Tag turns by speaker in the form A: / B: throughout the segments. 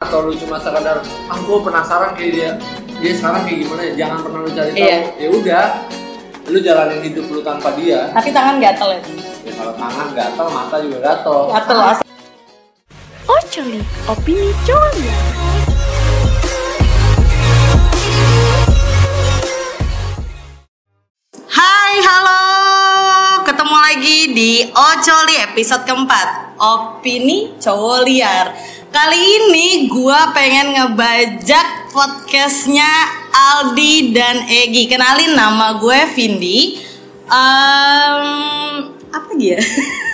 A: atau lu cuma sekadar ah gue penasaran kayak dia dia sekarang kayak gimana ya jangan pernah lu cari tahu
B: Iya.
A: ya udah lu jalanin hidup lu tanpa dia
B: Tapi tangan gatel ya.
A: ya kalau tangan gatel mata juga gatel
B: Gatel asal.
C: Ocoli, opini coli.
D: Hai, halo. Ketemu lagi di Ocoli episode keempat. Opini cowok liar. Kali ini gua pengen ngebajak podcastnya Aldi dan Egi. Kenalin nama gue Vindi. Em, apa dia?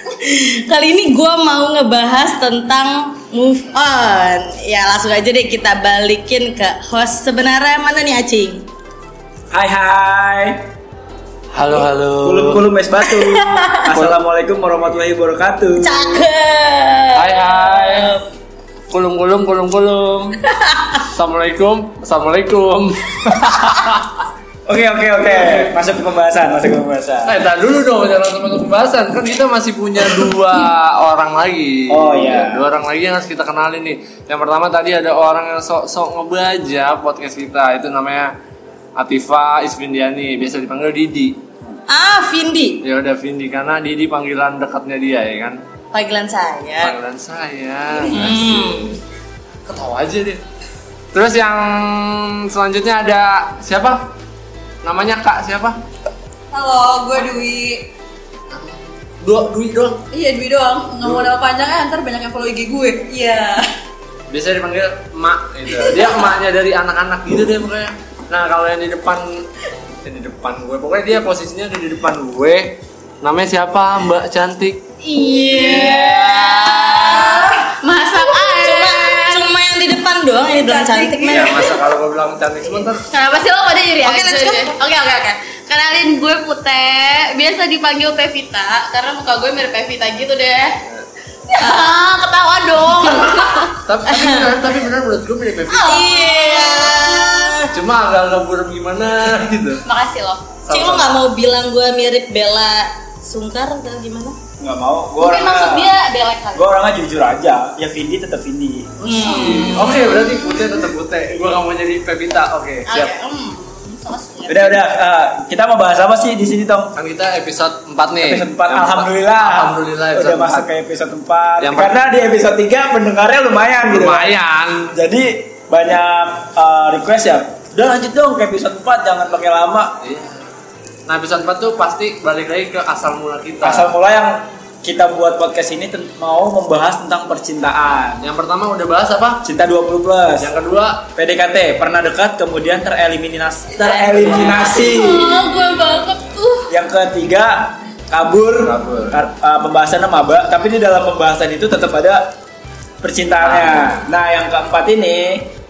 D: Kali ini gua mau ngebahas tentang move on. Ya langsung aja deh kita balikin ke host sebenarnya mana nih Acing?
E: Hai hai.
A: halo halo
E: Kulum kulum es batu. Assalamualaikum warahmatullahi wabarakatuh.
D: Cakep.
A: hai hai kulum kulum kulum kulum assalamualaikum assalamualaikum
E: Oke oke oke. Masuk ke pembahasan, masuk ke pembahasan.
A: Eh, tahan dulu dong, jangan langsung masuk pembahasan. Kan kita masih punya dua orang lagi.
E: Oh, iya.
A: Dua orang lagi yang harus kita kenalin nih. Yang pertama tadi ada orang yang sok-sok ngebaja podcast kita. Itu namanya Atifa Isfindiani, biasa dipanggil Didi.
D: Ah, Vindi.
A: Ya udah Vindi karena Didi panggilan dekatnya dia ya kan.
D: Panggilan saya.
A: Panggilan saya.
D: Hmm.
A: Ketawa aja deh. Terus yang selanjutnya ada siapa? Namanya Kak siapa?
F: Halo, gue Dwi.
A: Dua Dwi doang.
F: Iya Dwi doang. Nggak mau nama
D: eh,
F: panjangnya, ntar banyak yang follow IG gue. Iya.
A: biasanya dipanggil emak gitu dia emaknya dari anak-anak gitu deh pokoknya nah kalau yang di depan yang di depan gue pokoknya dia posisinya ada di depan gue namanya siapa mbak cantik
D: Masak air. Iya. Cuma, cuma yang di depan doang yang bilang cantik iya.
A: ya
D: men.
A: masa kalau gue bilang cantik sebentar
G: Kenapa sih lo pada jadi
D: Iya, Oke,
G: aja
D: let's go.
G: deh? Oke, oke, oke. Kenalin gue Pute, biasa dipanggil Pevita karena muka gue mirip Pevita gitu deh. Ah, ketawa dong.
A: tapi tapi benar tapi benar menurut gue mirip Pevita
D: Iya.
A: cuma agak agak buram gimana gitu
G: Makasih lo.
D: Cing lu nggak mau bilang gue mirip Bella Sungkar atau gimana?
E: Nggak mau. Gua
G: Mungkin maksud dia belek kali.
E: Gue orangnya jujur aja. Ya Vindi tetap Vindi.
G: Oh,
A: oke berarti putih tetap putih gue gak mau jadi Pevita oke siap
D: Hmm.
G: iya.
E: Udah udah. eh, kita mau bahas apa sih di sini tong?
A: kan kita episode 4 nih
E: Episode 4
A: Yang
E: Alhamdulillah.
A: alhamdulillah episode
E: Udah masuk ke episode 4
A: Yang
E: Karena di episode 3 pendengarnya lumayan
A: 4
E: gitu.
A: lumayan
E: Jadi banyak eh, request ya. Udah lanjut dong ke episode 4 jangan pakai lama.
A: Iya. Nah episode 4 tuh pasti balik lagi ke asal mula kita.
E: Asal mula yang kita buat podcast ini ten- mau membahas tentang percintaan.
A: Yang pertama udah bahas apa?
E: Cinta 20 plus.
A: Yang kedua
E: PDKT pernah dekat kemudian tereliminasi. Tereliminasi.
G: Oh, gue banget tuh.
E: Yang ketiga kabur.
A: Kabur.
E: Kar- uh, pembahasannya maba, tapi di dalam pembahasan itu tetap ada percintaannya. Nah, yang keempat ini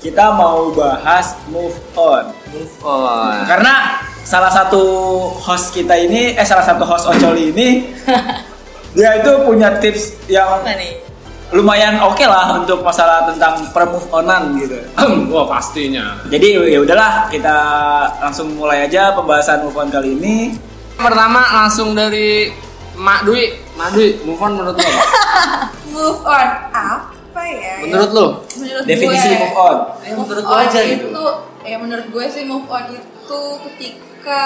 E: kita mau bahas move on.
A: move on.
E: Karena salah satu host kita ini eh salah satu host Ocoli ini dia itu punya tips yang
D: Apa nih?
E: lumayan oke lah untuk masalah tentang permove onan gitu.
A: Wah pastinya.
E: Jadi ya udahlah kita langsung mulai aja pembahasan move on kali ini.
A: Yang pertama langsung dari Mak Dwi. Mak Dwi, move on menurut lo? apa?
F: Move on. Apa ya?
A: menurut lo?
F: Menurut
E: Definisi
F: gue, eh,
E: move on.
A: Ya, menurut
F: move
A: lo
F: on
A: aja gitu.
F: itu, ya menurut gue sih move on itu ketika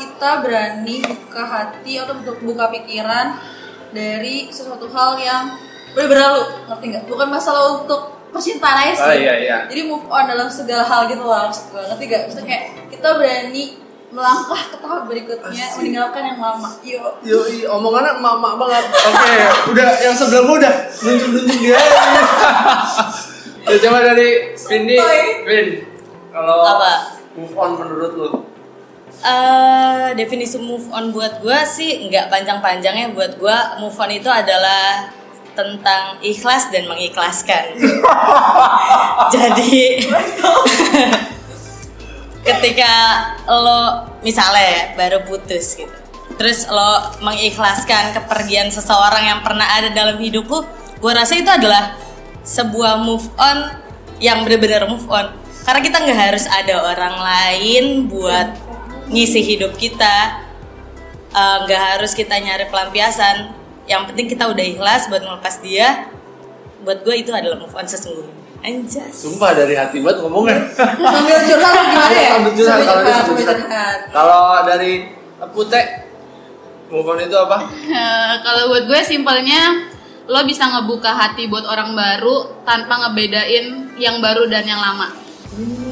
F: kita berani buka hati atau bu- buka pikiran dari sesuatu hal yang udah berlalu, ngerti nggak? Bukan masalah untuk percintaan aja sih.
A: Oh, iya, iya.
F: Jadi move on dalam segala hal gitu loh, maksud gue. Ngerti gak? Maksudnya kayak kita berani melangkah ke tahap
G: Ya,
F: berikutnya, meninggalkan yang lama. Iya. Yuk.
A: Yoi, omongannya emak-emak banget. Oke, udah yang sebelah gua udah nunjuk-nunjuk dia. ya, coba dari Vindi,
F: Santai.
A: Vin. Kalau
D: Apa?
A: move on menurut lo?
D: Eh, definisi move on buat gue sih nggak panjang-panjangnya buat gue move on itu adalah tentang ikhlas dan mengikhlaskan jadi ketika lo misalnya ya, baru putus gitu terus lo mengikhlaskan kepergian seseorang yang pernah ada dalam hidup lo gue rasa itu adalah sebuah move on yang benar-benar move on karena kita nggak harus ada orang lain buat ngisi hidup kita Eh, nggak harus kita nyari pelampiasan yang penting kita udah ikhlas buat melepas dia buat gue itu adalah move on sesungguhnya Anjas.
A: Sumpah dari hati banget ngomongnya.
F: Sambil curhat gimana ya?
A: Sambil curhat, kalau dia sambil
F: sambil
A: curhat.
F: curhat.
A: Kalau dari Putek move on itu apa?
G: Eh, kalau buat gue simpelnya lo bisa ngebuka hati buat orang baru tanpa ngebedain yang baru dan yang lama.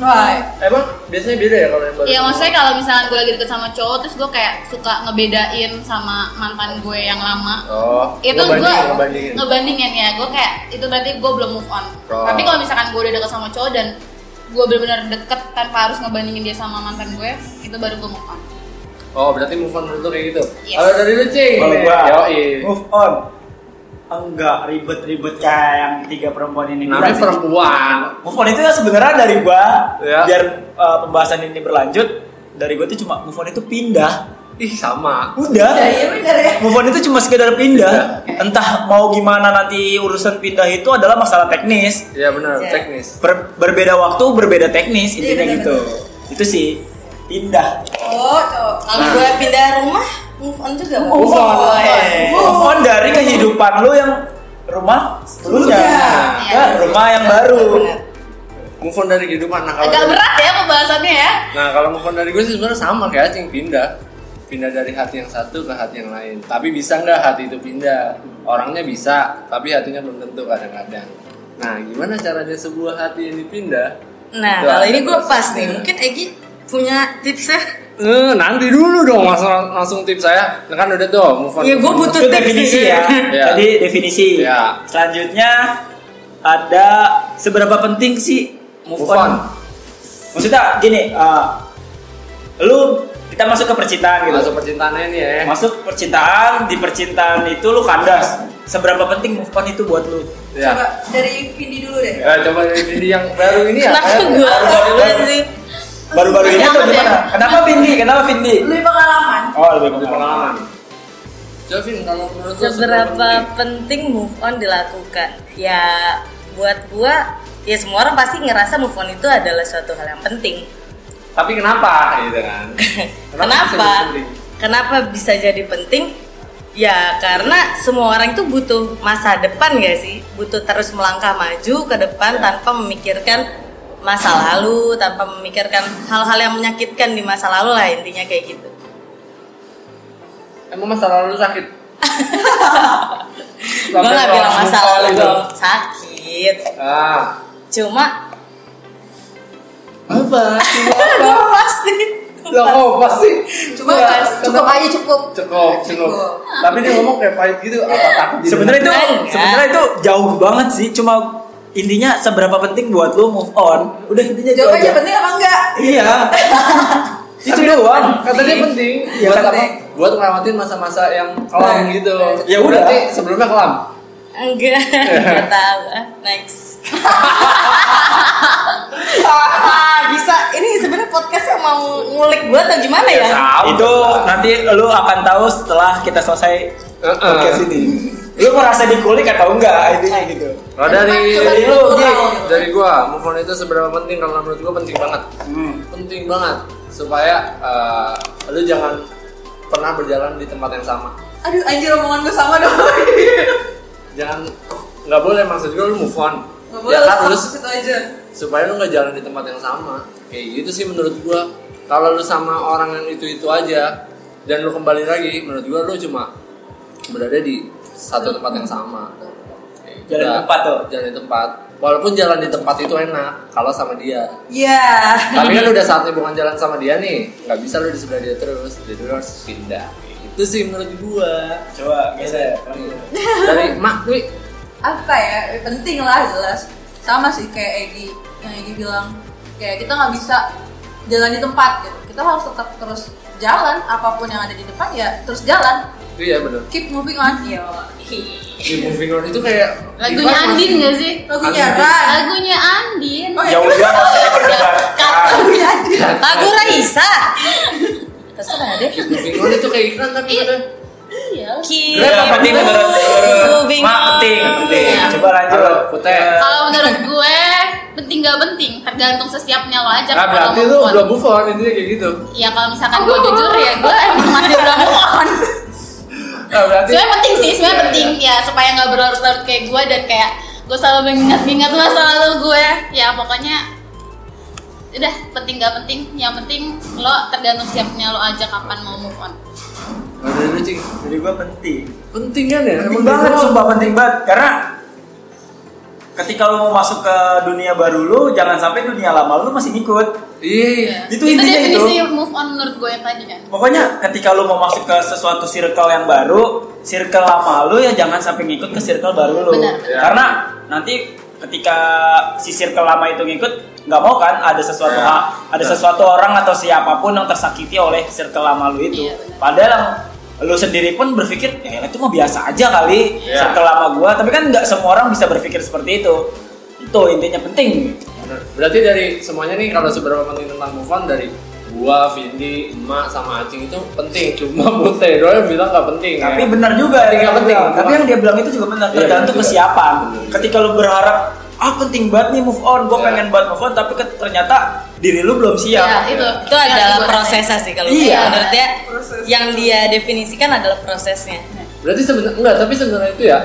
F: Right.
A: Emang biasanya beda ya kalau yang baru?
G: Ya maksudnya kalau misalnya gue lagi deket sama cowok terus gue kayak suka ngebedain sama mantan gue yang lama.
A: Oh,
G: itu
A: ngebandingin,
G: gue
A: ngebandingin.
G: ngebandingin ya gue kayak itu berarti gue belum move on.
A: Oh.
G: Tapi kalau misalkan gue udah deket sama cowok dan gue benar-benar deket tanpa harus ngebandingin dia sama mantan gue, itu baru gue move on.
A: Oh, berarti move on dulu kayak gitu.
G: Yes.
A: Kalau dari lu, Cing.
E: Kalau gua
A: Yoi.
E: move on. Oh, Enggak ribet-ribet kayak yang tiga perempuan ini.
A: Namanya
E: Berarti-
A: perempuan.
E: Move on itu ya sebenarnya dari gua
A: Ya.
E: biar uh, pembahasan ini berlanjut dari gua tuh cuma move on itu pindah.
A: Ih, sama.
E: Udah.
F: Ya iya bener ya.
E: Move on itu cuma sekedar pindah.
A: Iya.
E: Entah mau gimana nanti urusan pindah itu adalah masalah teknis.
A: Iya benar,
F: Iya.
A: teknis.
E: Ber- berbeda waktu, berbeda teknis intinya
F: Iya,
E: gitu. Itu sih pindah.
F: Oh, cowok.
D: Kalau gue pindah rumah, move on juga.
E: Nah.
D: iya.
E: Move on.
D: Woy.
E: Move on dari kehidupan lu yang rumah sebelumnya.
D: Sebelumnya.
E: Ya, rumah yang baru.
A: Move on dari kehidupan. Nah, kalau
G: Agak berat ya pembahasannya ya.
A: Nah, kalau move on dari gue sih sebenarnya sama kayak Cing pindah. Pindah dari hati yang satu ke hati yang lain. Tapi bisa nggak hati itu pindah? Orangnya bisa, tapi hatinya belum tentu kadang-kadang. Nah, gimana caranya sebuah hati ini pindah?
D: Nah,
A: Itu
D: kalau
A: ada
D: ini gue
A: proses.
D: pas nih. Mungkin Egi punya ya? tipsnya.
A: Eh, nanti dulu dong langsung langsung tips saya. Nah, Kan udah tuh move on.
D: Ya gue butuh tips
E: Itu definisi
D: sih.
E: ya.
A: Iya.
E: Jadi definisi.
A: Iya.
E: Selanjutnya ada seberapa penting sih move,
A: Move
E: on.
A: on.
E: Maksudnya gini, eh, lu kita masuk ke percintaan gitu.
A: Masuk percintaannya nih ya.
E: Masuk percintaan, di percintaan itu lu kandas. Seberapa penting move on itu buat lu?
A: Ya.
F: Coba dari Vindi dulu deh.
A: Ya, coba dari Vindi yang baru ini
E: Iya,
A: ya.
D: Kenapa
A: kayak-
D: gue
E: baru-
D: sih?
E: Baru-baru ini atau
G: Kenapa,
E: gimana?
G: Dek?
E: Kenapa Vindi? Kenapa Vindi?
F: Lebih pengalaman.
E: Oh, lebih
A: Lebih pengalaman. Coba Vin, kalau menurut lu
D: Seberapa penting move on dilakukan? Ya buat gua ya semua orang pasti ngerasa move on itu adalah suatu hal yang penting.
A: Tapi kenapa gitu kan?
D: Kenapa?
A: bisa jadi penting?
D: Kenapa bisa jadi penting? Ya karena semua orang itu butuh masa depan gak sih? Butuh terus melangkah maju ke
A: Ya.
D: depan tanpa memikirkan masa lalu, tanpa memikirkan hal-hal yang menyakitkan di masa lalu lah intinya kayak gitu.
A: Emang masa lalu lu sakit?
D: Gue
A: Sampai
D: nggak
A: kalau
D: bilang masa
A: lupa
D: lalu
A: gitu.
D: dong sakit.
A: Ah.
D: Cuma
A: Apa?
D: gue pasti
A: Loh, Iya. oh, pasti.
F: Coba cukup aja cukup.
A: Cukup, cukup. Tapi dia ngomong kayak pahit gitu, apa takut dia
E: Sebenarnya itu
D: Enggak.
E: sebenarnya itu jauh banget sih. Cuma intinya seberapa penting buat lu move on. Udah intinya itu
F: Jawabannya
E: aja.
F: penting apa enggak?
E: Iya. itu doang.
A: kata dia penting
E: Iya,
A: buat
E: kata-
A: apa? Buat ngelewatin masa-masa yang kelam
F: Nah,
A: gitu.
E: ya udah.
A: Berarti sebelumnya kelam.
D: enggak nggak tahu ah next ah, bisa ini sebenarnya podcastnya mau ngulik gue atau gimana ya
E: Itu nanti lu akan tahu setelah kita selesai
A: Heeh.
E: podcast ini. Lu merasa dikulik atau enggak intinya gitu.
A: Kalau dari
F: Coba
E: dari lu, Gi.
A: dari gua, move on itu seberapa penting kalau menurut gua penting banget. Penting banget supaya eh, lu jangan pernah berjalan di tempat yang sama.
F: Aduh anjir omongan gue sama dong.
A: Jangan nggak boleh maksud gua lu move on.
F: Gak boleh
A: ya kan
F: lu
A: lu
F: situ aja.
A: supaya lu nggak jalan di tempat yang sama. Kayak gitu sih menurut gua. Kalau lu sama orang yang itu-itu aja dan lu kembali lagi, menurut gua lu cuma berada di satu tempat yang sama. Kayak gitu
E: Jalan
A: dah.
E: tempat tuh.
A: Jalan di tempat. Walaupun jalan di tempat itu enak kalau sama dia.
F: Iya.
A: Tapi kan udah saatnya bukan jalan sama dia nih. Nggak bisa lu di sebelah dia terus. Jadi lu harus pindah. Itu sih menurut gua.
E: Coba gitu. geser.
A: Dari Mak Dwi.
F: Apa ya? eh, Penting lah jelas. Sama sih kayak Egi yang Egi bilang kayak kita nggak bisa jalan di tempat gitu. Kita harus tetap terus jalan apapun yang ada di depan ya terus jalan.
A: Itu ya bener.
F: Keep moving on.
D: Iya.
A: Di moving on itu kayak
G: Lagunya
A: Ivan
G: Andin gak sih?
F: Lagunya
A: Aduh.
F: Ran.
G: Lagunya Andin.
F: Oh, iya.
E: Jauh dia masih
F: Lagunya Ran.
D: lagu Raisa terserah deh
A: Moving on itu kayak iklan tapi kadang-
G: Iya.
D: Keep
E: Kenapa penting menurut lu?
D: moving
E: Mak, penting,
D: on.
E: penting. Coba lanjut. Eh,
A: Halo, Putet.
G: Kalau menurut gue penting gak penting, tergantung sesiapnya lo aja.
A: Nah,
G: kalau
A: berarti
G: move
A: lu
G: on.
A: belum move on intinya kayak gitu.
G: Ya kalau
F: Oh,
G: misalkan gue jujur ya gue emang masih belum move on.
A: Nah, berarti Iya,
G: Sebenarnya penting sih, sebenarnya penting ya supaya nggak berlarut-larut kayak gue dan kayak gue selalu mengingat-ingat masa lalu gue ya pokoknya udah penting gak penting yang penting lo tergantung siapnya lo aja kapan mau move on
A: Gak ada lucu.
E: Jadi gue penting.
A: Penting kan ya?
E: Penting banget, sumpah penting banget. Karena ketika lu mau masuk ke dunia baru lu, jangan sampai dunia lama lu masih ngikut.
A: Iya.
E: Itu intinya itu.
G: definisi move on menurut gue yang tadi kan
E: Pokoknya ketika lu mau masuk ke sesuatu circle yang baru, circle lama lu ya jangan sampai ngikut ke circle baru lu.
G: Benar.
A: Ya.
E: Karena nanti ketika si circle lama itu ngikut, nggak mau kan ada sesuatu
A: Ya.
E: ha- ada sesuatu orang atau siapapun yang tersakiti oleh circle lama lu itu.
G: Iya, benar.
E: Padahal yang lu sendiri pun berpikir, ya itu mah biasa aja kali
A: Ya.
E: circle lama gua. Tapi kan nggak semua orang bisa berpikir seperti itu. Itu intinya penting.
A: Bener. Berarti dari semuanya nih kalau seberapa penting tentang move on dari gua, Vindi, emak sama Acing itu penting. Cuma Putih doang bilang nggak penting.
E: Tapi
A: ya.
E: benar juga
A: Tapi nggak
E: yang
A: penting.
E: dia bilang. Tapi yang dia bilang itu juga benar.
A: Iya, benar
E: Tergantung
A: juga.
E: kesiapan.
A: Benar.
E: Ketika lu berharap ah penting banget nih move on, gue
A: Iya.
E: pengen banget move on, tapi ke- ternyata diri lu belum siap.
G: ya itu
D: itu
G: Yang
D: adalah
G: gue rasain.
D: prosesnya sih kalau
E: Iya.
D: menurut dia yang dia definisikan adalah prosesnya
A: Berarti sebenarnya enggak, tapi sebenarnya itu ya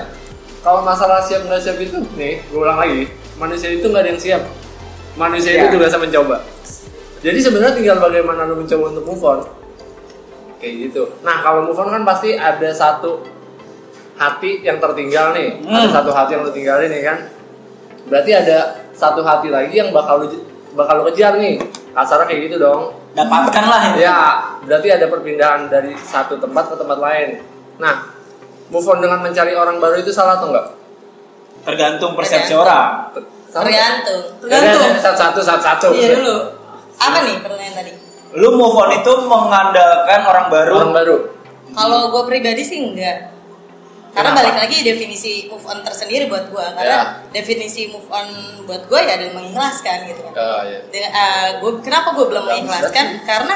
A: kalau masalah siap nggak siap itu nih, gue ulang lagi. Manusia itu nggak ada yang siap. Manusia
E: Iya.
A: itu biasa mencoba. Jadi sebenarnya tinggal bagaimana lu mencoba untuk move on. Kayak gitu. Nah, kalau move on kan pasti ada satu hati yang tertinggal nih. Ada
E: Hmm.
A: satu hati yang lu tinggalin nih kan. Berarti ada satu hati lagi yang bakal lu bakal lu kejar nih. Kasarnya kayak gitu dong.
E: Dapatkan lah ini.
A: Ya, berarti ada perpindahan dari satu tempat ke tempat lain. Nah, move on dengan mencari orang baru itu salah atau enggak?
E: Tergantung persepsi orang.
A: Salah.
D: Oh, ya, tergantung
A: Tergantung. Ya Satu-satu, satu-satu.
F: Iya dulu.
D: apa nih pertanyaan tadi
E: Lu move on itu mengandalkan orang baru.
A: Orang baru.
D: kalau gue pribadi sih enggak karena
A: Kenapa?
D: balik lagi definisi move on tersendiri buat gue karena definisi move on buat gue ya adalah mengikhlaskan gitu kan
A: Ah, iya.
D: dengan eh, gua- kenapa gue belum
A: Bagus
D: mengikhlaskan Kan karena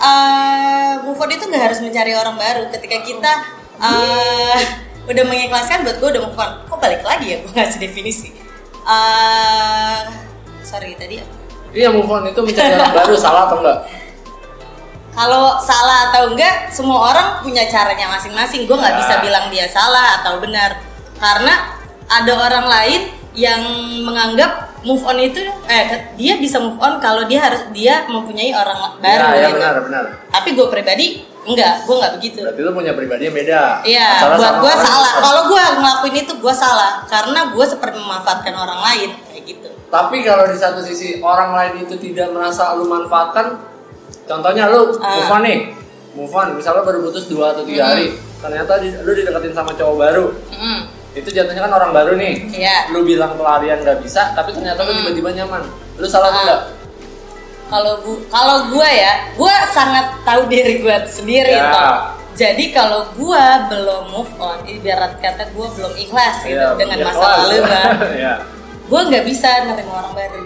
D: eh move on itu nggak harus mencari orang baru ketika kita eh, udah mengikhlaskan buat gue udah move on kok balik lagi ya gue ngasih definisi Eh sorry tadi apa?
A: Iya, move on itu mencari orang baru salah atau enggak?
D: kalau salah atau enggak semua orang punya caranya masing-masing gue nggak
E: Ya.
A: Iya.
D: bisa bilang dia salah atau benar karena ada orang lain yang menganggap move on itu eh dia bisa move on kalau dia harus dia mempunyai orang baru
A: ya, ya
D: gitu.
A: benar, benar.
D: tapi gue pribadi enggak gue nggak begitu
A: Berarti lu punya pribadi yang beda.
D: Iya,
A: Salah
D: buat
A: sama
D: gue
A: orang-
D: salah. Kalau gue ngelakuin itu gue salah karena gue seperti memanfaatkan orang lain kayak gitu.
A: Tapi kalau di satu sisi orang lain itu tidak merasa lu manfaatkan, contohnya lu
D: Ah.
A: move on nih, move on, misalnya baru putus dua atau tiga hari, ternyata di- lu dideketin sama cowok baru,
D: Mm-mm.
A: itu jatuhnya kan orang baru nih.
D: Iya.
A: Lu bilang pelarian nggak bisa, tapi ternyata lu
D: Hmm.
A: tiba-tiba nyaman. Lu salah
D: Ah.
A: enggak?
D: Kalau gue kalau gue ya, gue sangat tahu diri gue sendiri
A: Ya.
D: Tom. Jadi kalau gue belum move on, ibarat kata gue belum ikhlas gitu dengan masa lalu gue,
A: Iya.
D: gue nggak bisa nerima orang baru.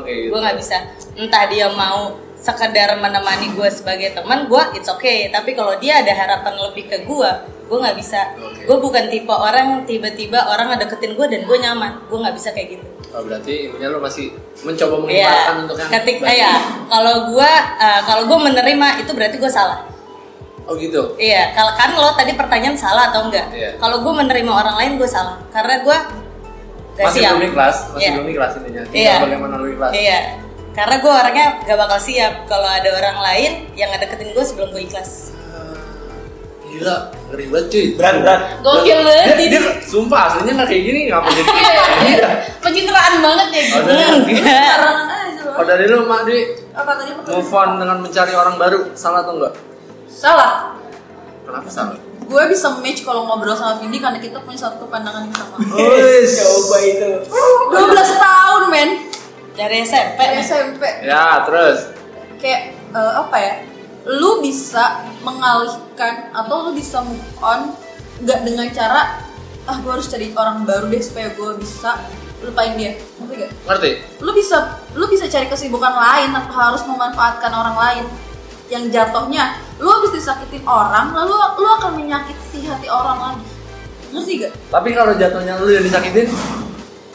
A: Oke. gitu.
D: Gue nggak bisa. Entah dia mau sekedar menemani gue sebagai teman, gue it's okay. Tapi kalau dia ada harapan lebih ke gue, gue nggak bisa.
A: Oke.
D: Gue bukan tipe orang tiba-tiba orang ngedeketin gue dan gue nyaman. Gue nggak bisa kayak gitu.
A: Oh, berarti intinya lu masih mencoba
D: Iya.
A: mengikhlaskan untuk yang
D: Ketik,
A: baru.
D: eh, ya. Kalau gue, kalau gue menerima itu berarti gue salah.
A: Oh gitu.
D: Iya, kalau kan lo tadi pertanyaan salah atau enggak?
A: Iya.
D: Kalau gue menerima orang lain gue salah karena gue gak
A: Masih
D: siap.
A: belum ikhlas, masih
D: Iya.
A: belum ikhlas intinya. Tinggal
D: Iya.
A: bagaimana lu ikhlas.
D: Iya, karena gue orangnya gak bakal siap kalau ada orang lain yang ngedeketin gue sebelum gue ikhlas.
A: Eh, Gila, ngeri banget cuy.
E: Berat, berat.
G: gokil
A: Dia,
G: banget ini
A: dia, sumpah aslinya nggak kayak gini ngapa jadi kayak
D: Iya.
A: gini?
G: pencitraan banget ya
A: Oh,
G: gitu
A: dari,
D: Enggak.
F: Sarangan aja loh.
A: oh, dari lu Mak Dwi
F: Apa tadi pertanyaan?
A: move on dengan mencari orang baru salah atau enggak?
F: Salah.
A: Kenapa salah?
F: Gue bisa match kalau ngobrol sama Vindi karena kita punya satu pandangan yang sama.
E: Yes, coba itu.
F: 12 tahun men
D: Dari SMP.
F: kayak SMP
A: Ya terus
F: kayak eh, apa ya lu bisa mengalihkan atau lu bisa move on nggak dengan cara ah gue harus cari orang baru deh supaya gue bisa lupain dia ngerti gak
A: ngerti?
F: lu bisa lu bisa cari kesibukan lain tanpa harus memanfaatkan orang lain yang jatuhnya lu habis disakitin orang lalu lu akan menyakiti hati orang lagi ngerti gak
A: Tapi kalau jatuhnya lu yang disakitin,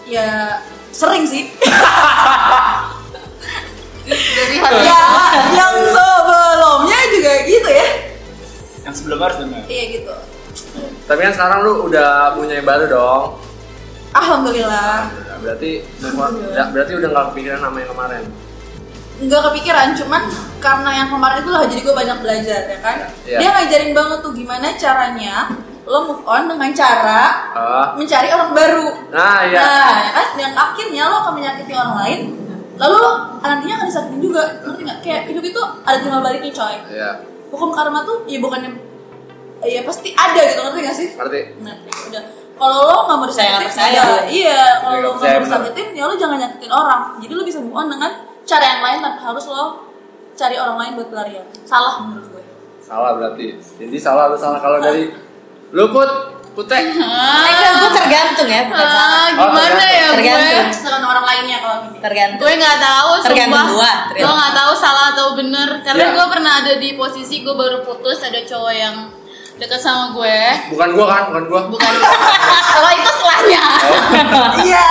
F: ya sering sih
G: dari hati
F: ya yang sebelumnya juga gitu ya
E: Yang sebelumnya harus dengar.
F: iya gitu
A: tapi kan sekarang lu udah punya yang baru dong.
F: Alhamdulillah.
A: Nah, berarti move on- ya, berarti udah nggak kepikiran sama yang kemarin
F: nggak kepikiran cuman karena yang kemarin itu lah jadi gue banyak belajar ya kan
A: Iya.
F: dia ngajarin banget tuh gimana caranya lo move on dengan cara
A: Ah.
F: mencari orang baru
A: nah iya
F: nah ya kan yang akhirnya lo akan menyakiti orang lain lalu lo nantinya akan disakitin juga ngerti nggak kayak hidup itu ada timbal baliknya coy
A: iya
F: hukum karma tuh ya bukannya ya pasti ada gitu ngerti gak sih
A: ngerti
F: Nah, udah. Kalau lo nggak mau
D: Saya nggak
F: disakitin,
D: percaya,
F: ya-
D: Bu.
F: iya.
A: Saya
F: Kalau lo
A: nggak
F: nggak
A: percaya,
F: mau
A: benar.
F: disakitin, ya lo jangan nyakitin orang. Jadi lo bisa move on dengan cara yang lain tanpa harus lo cari orang lain buat pelarian. Salah menurut gue.
A: salah berarti jadi salah lu salah kalau dari lu put putek
D: Tapi gue Iya, tergantung ya,
A: Iya.
D: bukan salah.
G: Ah, gimana ya
D: Tergantung.
G: gue?
F: Tergantung orang lainnya kalau gitu. gini.
D: Tergantung.
G: Gue nggak tahu,
D: Tergantung
G: sumpah.
D: gua,
G: Gue
D: tergantung.
G: nggak tahu salah atau bener. Karena
A: Ya.
G: gue pernah ada di posisi gue baru putus ada cowok yang deket sama gue.
A: bukan gua kan bukan gua
G: Bukan. Kalau itu selahnya.
D: Iya.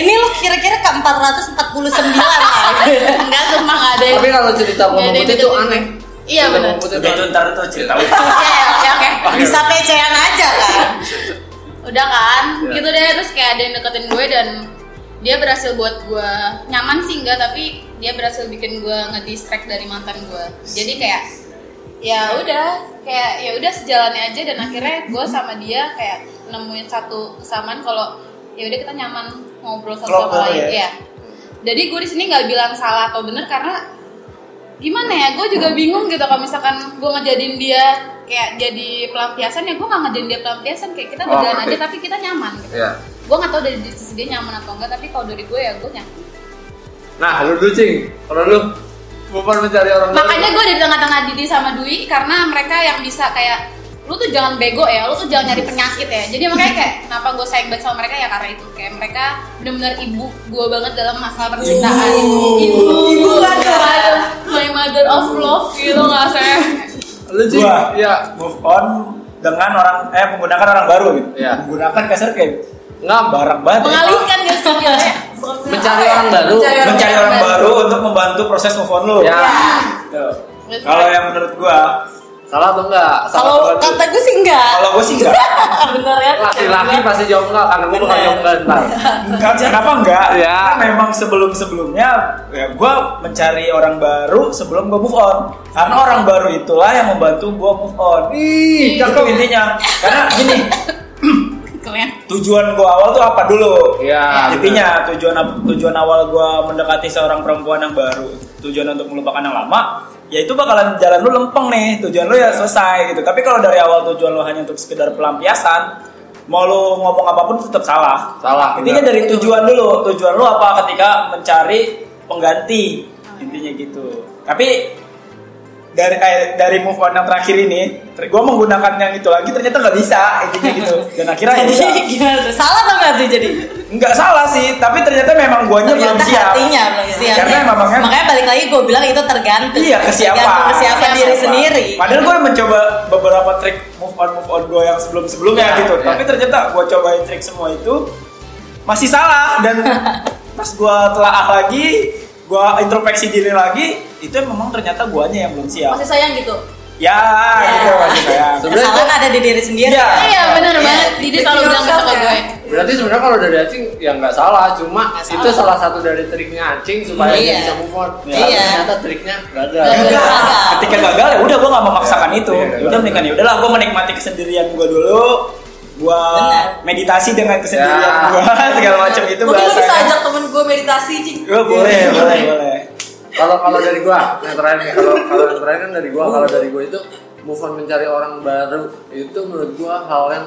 D: Ini lo kira-kira ke 449 lah.
G: Enggak, sumpah nggak ada.
A: tapi kalau cerita
G: Nggak
A: ngomong
G: ada yang
A: putih itu
G: deketin.
A: aneh
G: Iya
A: Cerita
G: benar.
A: ngomong putih
E: Udah
A: itu
E: itu ntar itu cerita.
G: Oke, oke, oke.
D: Bisa pecean aja kan.
G: udah kan
A: Ya.
G: gitu deh terus kayak ada yang deketin gue dan dia berhasil buat gue nyaman sih enggak tapi dia berhasil bikin gue ngedistract dari mantan gue jadi kayak ya udah kayak ya udah sejalannya aja dan akhirnya gue sama dia kayak nemuin satu kesamaan kalau ya udah kita nyaman ngobrol satu
E: Klop
G: sama
E: banget
G: lain
E: ya.
G: ya jadi gue di sini nggak bilang salah atau bener karena gimana ya gue juga bingung gitu kalau misalkan gue ngejadiin dia kayak jadi pelampiasan ya gue nggak ngejadiin dia pelampiasan kayak kita
A: Oh,
G: berjalan
A: ngerti.
G: aja tapi kita nyaman gitu
A: Iya.
G: gue nggak tahu dari sisi dia nyaman atau enggak tapi kalau dari gue ya gue nyaman
A: nah lu dulu cing kalau lu bukan mencari orang baru.
G: makanya gue di tengah-tengah Didi sama Dwi karena mereka yang bisa kayak lu tuh jangan bego ya, lu tuh jangan nyari penyakit ya. Jadi makanya kayak kenapa gue sayang banget sama mereka ya karena itu kayak mereka benar-benar ibu gue banget dalam masalah percintaan. Ibu, ibu ada my mother of love gitu nggak saya.
A: lu cing
E: Gua.
A: iya
E: Move on dengan orang eh menggunakan orang baru gitu.
A: Iya.
E: Menggunakan kasar kayak
A: nggak
E: barang banget. ya.
G: Mengalihkan gitu sih kayak.
A: mencari orang baru
E: Mencari orang baru untuk membantu proses move on lu.
A: ya
E: Tuh. Kalau yang menurut gua,
A: salah atau enggak salah
D: Kalau
A: atau
D: kata gue sih enggak.
E: kalau gua sih enggak.
D: Bener ya.
A: laki-laki pasti jawab enggak karena gua bakal
D: Bener.
A: jawab enggak ntar
E: Enggak, kenapa enggak?
A: Ya.
E: Karena memang sebelum-sebelumnya ya gue mencari orang baru sebelum gue move on. Karena orang baru itulah yang membantu gue move on.
A: Iya. ih
E: Itu intinya. Karena gini,
G: Kalian.
E: tujuan gue awal tuh apa dulu?
A: Iya,
E: Intinya tujuan tujuan awal gue mendekati seorang perempuan yang baru, tujuan untuk melupakan yang lama, ya itu bakalan jalan lu lempeng nih.
A: Iya.
E: Tujuan lu ya selesai gitu. Tapi kalau dari awal tujuan lu hanya untuk sekedar pelampiasan, mau lu ngomong apapun tetap salah.
A: salah iya.
E: Intinya dari tujuan dulu, tujuan lu apa ketika mencari pengganti intinya gitu. Tapi dari eh, dari move on yang terakhir ini, ter- gua menggunakan yang itu lagi ternyata nggak bisa intinya gitu. Dan akhirnya ya
D: Jadi
E: udah.
D: gimana tuh? Salah atau enggak tuh jadi?
E: nggak salah sih, tapi ternyata memang guanya belum
D: Ternyata
E: siap.
D: hatinya belum siap.
E: Karena
D: ya.
E: memang kan-
D: makanya balik lagi gue bilang itu tergantung.
E: Iya kesiapan.
D: Tergantung kesiapan diri
E: Kesiapan.
D: sendiri.
E: Padahal gue mencoba beberapa trik move on move on gue yang sebelum sebelumnya
A: Iya,
E: gitu.
A: iya.
E: Tapi ternyata gue cobain trik semua itu masih salah dan pas gue telaah lagi, gue introspeksi diri lagi, itu memang ternyata guanya yang belum siap.
F: Masih sayang gitu.
E: Ya, gitu masih sayang.
A: Sebenarnya
D: Kesalahan ada di diri sendiri.
E: Iya.
G: Iya benar banget. Didi selalu bilang gitu ke gue.
A: Berarti sebenarnya kalau dari Acing ya nggak salah, cuma
D: Nggak
A: itu salah
D: salah.
A: satu dari triknya Acing supaya
D: Iya.
A: dia bisa move on.
E: Iya.
A: Tapi Ternyata triknya gagal.
D: Gagal.
E: Gagal. Ketika gagal ya udah gue nggak memaksakan itu.
A: Iya,
E: Ya udah mendingan ya udahlah gue menikmati kesendirian gue dulu. Gue
D: Benar.
E: meditasi dengan kesendirian
A: Ya.
E: gue segala macam itu
F: Mungkin lo bisa
E: bahasanya.
F: ajak temen gue meditasi, Cing.
E: Gue boleh, boleh, boleh.
A: Kalau kalau dari gua yang terakhir nih, kalau kalau yang terakhir kan dari gua, kalau dari gua itu move on mencari orang baru itu menurut gua hal yang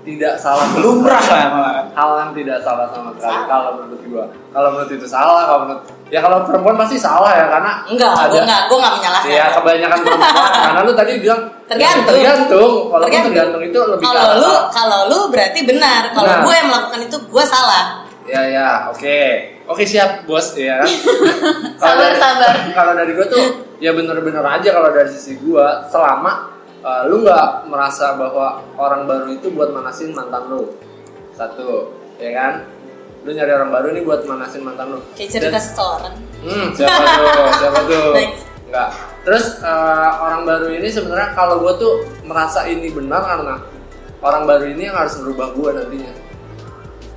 A: tidak salah sama
E: Lumrah
A: sekali.
E: lah malah.
A: hal yang tidak salah sama sekali kalau menurut gua kalau menurut itu salah kalau menurut ya kalau perempuan pasti salah ya karena
D: Enggak,
A: ada
D: gue enggak, gue enggak menyalahkan.
A: Iya kebanyakan perempuan karena lu tadi bilang
D: Tergantung.
A: tergantung kalau lu tergantung itu lebih ke
D: Kalau
A: arah
D: lu,
A: salah.
D: kalau lu berarti benar. Kalau
A: Benar.
D: gue yang melakukan itu gue salah.
A: ya ya oke oke siap bos ya kan Kalau
G: Sabar,
A: dari-
G: sabar.
A: kalau dari gue tuh ya bener-bener aja kalau dari sisi gue selama uh, lu nggak merasa bahwa orang baru itu buat manasin mantan lu satu ya kan lu nyari orang baru nih buat manasin mantan lu
D: Kayak cerita
A: Dan-
D: seseorang.
A: Hmm, siapa tuh? Siapa tuh?
D: Next.
A: Enggak. Terus eh, orang baru ini sebenarnya kalau gue tuh merasa ini benar karena orang baru ini yang harus merubah gue nantinya.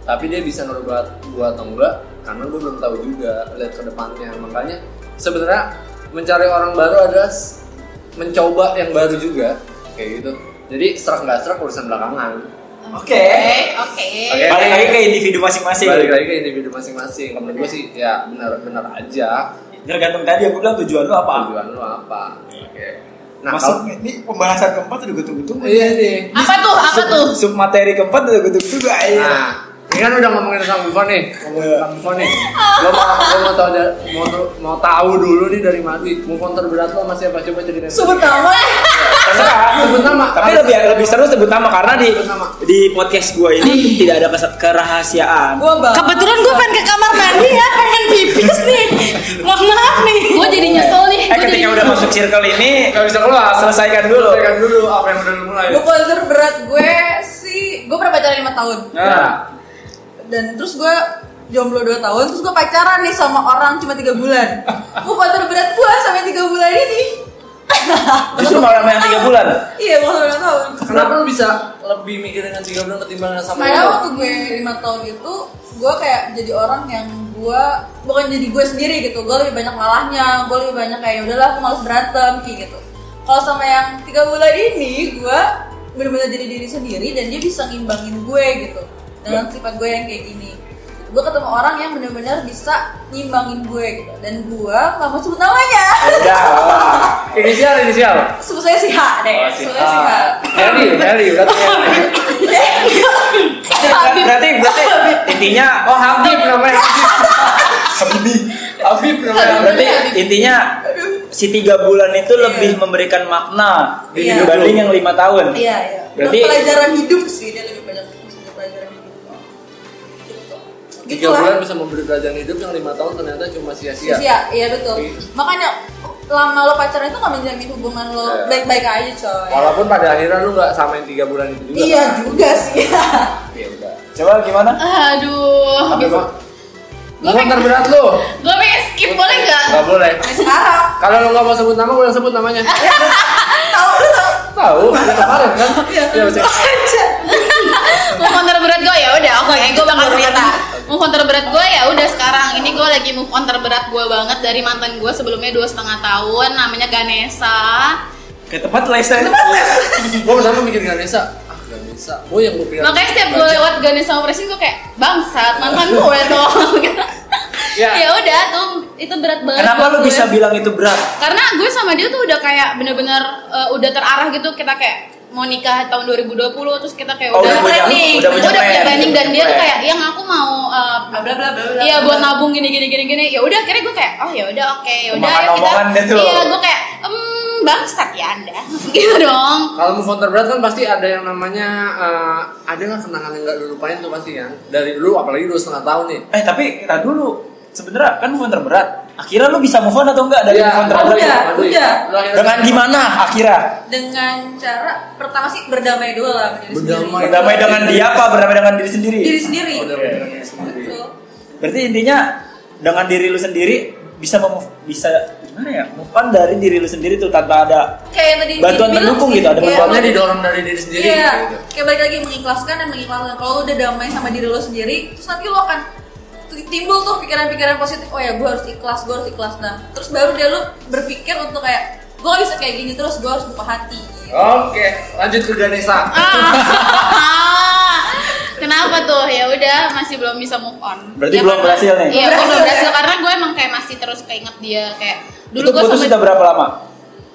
A: tapi dia bisa ngerubah gue atau enggak karena gue belum tahu juga lihat ke depannya makanya sebenarnya mencari orang baru adalah s- mencoba yang baru juga kayak gitu jadi serak nggak serak urusan belakangan
E: Oke.
G: Oke.
A: Oke.
E: Balik lagi ke individu masing-masing.
A: balik lagi ke individu masing-masing menurut gue sih ya benar-benar aja
E: Tergantung tadi aku bilang tujuan lu apa.
A: tujuan lo apa oke nah kalau
E: Masuk ini pembahasan keempat udah gue tunggu-tunggu.
A: iya nih
G: Apa tuh? Apa tuh?
E: Sub materi keempat udah gue tunggu-tunggu. ayo.
A: Nah, Iya. ini kan udah ngomongin tentang Buffon nih, ngomongin tentang Buffon nih. Lo mau lo mau tahu da- mau mau tahu dulu nih dari Madrid, Buffon terberat lo masih apa coba ceritain.
F: Sebut nama.
E: Terserah.
A: Sebut nama.
E: Tapi lebih lebih seru sebut nama karena di
A: Sebut nama. Hmm.
E: di podcast gue ini tidak ada kes- kerahasiaan.
F: Gua bang.
D: Kebetulan gue pengen ke kamar mandi ya, pengen pipis nih. Mohon maaf nih.
G: Gue jadi nyesel nih.
E: Eh
G: Gue jadi
E: ketika udah masuk circle ini
A: Gak bisa keluar.
E: selesaikan dulu.
A: Selesaikan dulu apa yang udah lo mulai.
F: Bukan terberat gue sih, gue pernah pacaran 5 tahun
A: Nah,
F: dan terus gue jomblo 2 tahun terus gue pacaran nih sama orang cuma 3 bulan. Bukan terberat gue sampai 3 bulan ini.
E: Justru malah main tiga bulan.
F: Iya, bukan 2 tahun.
A: kenapa lo bisa lebih mikirin dengan tiga bulan ketimbang yang sama
F: Makanya
A: lo?
F: waktu gue lima tahun itu gue kayak jadi orang yang gue bukan jadi gue sendiri gitu gue lebih banyak malahnya gue lebih banyak kayak "Ya udahlah aku males berantem kayak gitu kalau sama yang tiga bulan ini gue bener-bener jadi diri sendiri dan dia bisa ngimbangin gue gitu dengan sifat gue yang kayak gini gue ketemu orang yang bener-bener bisa ngimbangin gue gitu dan gue nggak mau sebut namanya
E: Udah. lah.
A: Inisial, inisial.
F: sebut saya si H deh
A: Oh, si
F: sebut saya si H
A: A. Harry, Harry, berarti Harry.
E: Berarti berarti intinya
A: Oh, Habib namanya.
E: Habibi.
A: Habib namanya.
E: Berarti intinya si tiga bulan itu lebih memberikan makna
F: Iya.
E: dibanding yang lima tahun.
F: Iya, iya.
E: Berarti-
F: Untuk pelajaran hidup sih dia lebih banyak untuk pelajaran hidup. Gitu.
A: Tiga bulan bisa memberi pelajaran hidup yang lima tahun ternyata cuma sia-sia.
F: Iya, iya betul.
A: Iya.
F: Makanya lama lo pacaran itu gak menjamin hubungan lo
A: Iya.
F: baik-baik aja, coy.
A: Walaupun pada akhirnya lu nggak samain tiga bulan itu juga.
F: Iya
A: kan?
F: juga sih.
A: Ya udah.
E: Coba gimana?
G: Aduh.
A: Tapi Pak,
G: Gua
A: Bukan
G: pengen-
A: terberat lu.
G: Gue pengen skip boleh nggak?
A: Gak boleh.
F: Sekarang
A: Kalau lu nggak mau sebut nama, gue yang sebut namanya.
F: tahu lo tahu.
A: Tahu, udah kemarin kan? Iya, bisa.
G: move on terberat gue ya udah oke gue bakal cerita move on terberat gue ya udah sekarang ini gue lagi move on terberat gue banget dari mantan gue sebelumnya dua setengah tahun namanya Ganesa
E: Ke tempat lesen.
A: Gue pertama mikir Ganesha. Ah, Ganesha. Gue yang gue pikir.
E: Iya.
G: makanya setiap gue lewat Ganesa Operation gue kayak bangsat mantan gue tuh
A: Ya.
G: ya udah tuh itu berat banget
E: Iya. Kenapa
G: buat
E: lu
G: gue.
E: bisa bilang itu berat?
G: karena gue sama dia tuh udah kayak bener-bener eh, udah terarah gitu kita kayak mau nikah tahun 2020 terus kita kayak
E: Oh, udah
G: udah
E: punya-
G: planning
E: udah punya plan.
G: planning dan dia tuh
E: Plan.
G: kayak yang aku mau eh,
F: Bla bla bla bla. bla.
G: Iya buat nabung gini gini gini gini. Ya udah akhirnya gue kayak oh ya udah oke ya udah
E: Kemakan
G: ayo kita.
E: omongan deh tuh.
G: Iya gue kayak hmm bangsat ya anda gitu dong.
A: Kalau move on terberat kan pasti ada yang namanya eh, ada lah kenangan yang gak dilupain tuh pasti kan dari dulu apalagi dua setengah tahun nih
E: Eh tapi kita dulu sebenarnya kan move on terberat. Akhirnya lu bisa move on atau enggak dari
A: Iya,
E: move on terberat?
F: udah,
E: itu?
A: aduh,
F: udah.
A: lu akhirnya-
E: Dengan gimana akhirnya?
F: Dengan cara pertama sih berdamai dulu lah sama diri
A: Berdamai.
F: sendiri.
E: Berdamai dengan dia apa?
A: Iya.
E: Berdamai dengan diri sendiri.
F: Diri sendiri.
A: Oh, dari dengan diri sendiri.
F: Betul.
E: Berarti intinya dengan diri lu sendiri bisa mem- bisa gimana ya? Move on dari diri lu sendiri tuh tanpa ada
F: Kayak yang tadi
E: Bantuan
F: dibilang
E: mendukung
F: sih,
E: gitu, ada
F: kayak
E: bantuannya
A: Soalnya didorong dari diri sendiri
F: Iya,
A: gitu.
F: kayak balik lagi mengikhlaskan dan mengikhlaskan. Kalau lu udah damai sama diri lo sendiri, terus nanti lo akan t- timbul tuh pikiran-pikiran positif. Oh ya, gue harus ikhlas, gue harus ikhlas. Nah, terus baru dia lu berpikir untuk kayak gue gak bisa kayak gini terus gue harus buka hati.
A: Oke, lanjut ke Ganesha.
G: Ah. Kenapa tuh? Ya udah masih belum bisa move on.
E: Berarti
G: Ya,
E: belum
G: karena-
E: berhasil nih?
G: Iya
F: Belum
G: gue belum
F: berhasil.
G: berhasil karena gue emang kayak masih terus keinget dia kayak dulu
E: itu
G: gue
E: putus sudah
G: sampai
E: berapa lama?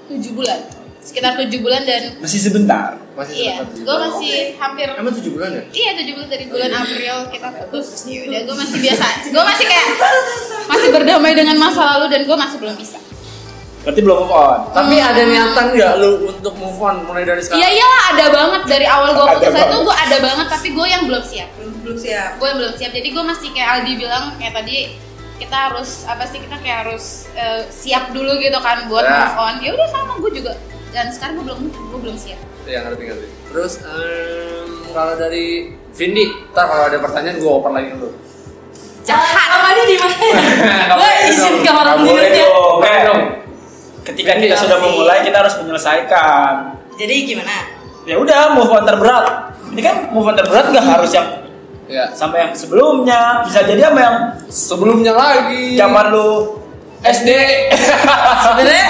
G: tujuh bulan sekitar tujuh bulan dan
E: Masih sebentar.
A: Masih
G: iya
A: sebentar.
G: gue masih hampir
A: Emang tujuh bulan ya?
G: Iya 17 dari bulan April kita putus. Ya udah gue masih biasa. Gue masih kayak masih berdamai dengan masa lalu dan gue masih belum bisa.
E: Berarti belum move on.
A: Tapi ada niatan nggak lu untuk move on mulai dari sekarang?
G: Iya iyalah ada banget dari awal gue
E: Ada
G: putus itu
E: banget.
G: gue ada banget tapi gue yang belum siap.
F: Belum belum siap.
G: Gue yang belum siap. Jadi gue masih kayak Aldi bilang kayak tadi kita harus apa sih kita kayak harus eh, siap dulu gitu kan buat
A: Ya.
G: move on. Ya udah sama gue juga dan sekarang gue belum gue belum siap.
A: Iya ngerti ngerti. Terus em, kalau dari Vindi, ntar kalau ada pertanyaan gue open lagi dulu.
G: Jahat.
F: Kamarnya di mana? Gue izin kamar
E: Nggak
F: mandi
E: boleh
F: dulu ya.
E: dong.
A: Oke
E: Eh,
A: dong.
E: Ketika kita sudah memulai kita harus menyelesaikan.
D: Jadi gimana?
E: Ya udah move on terberat. Ini kan move on terberat nggak harus yang
A: Iya.
E: sampai yang sebelumnya bisa jadi sama yang
A: Sebelumnya lagi.
E: zaman lu
A: SD.
D: sebenarnya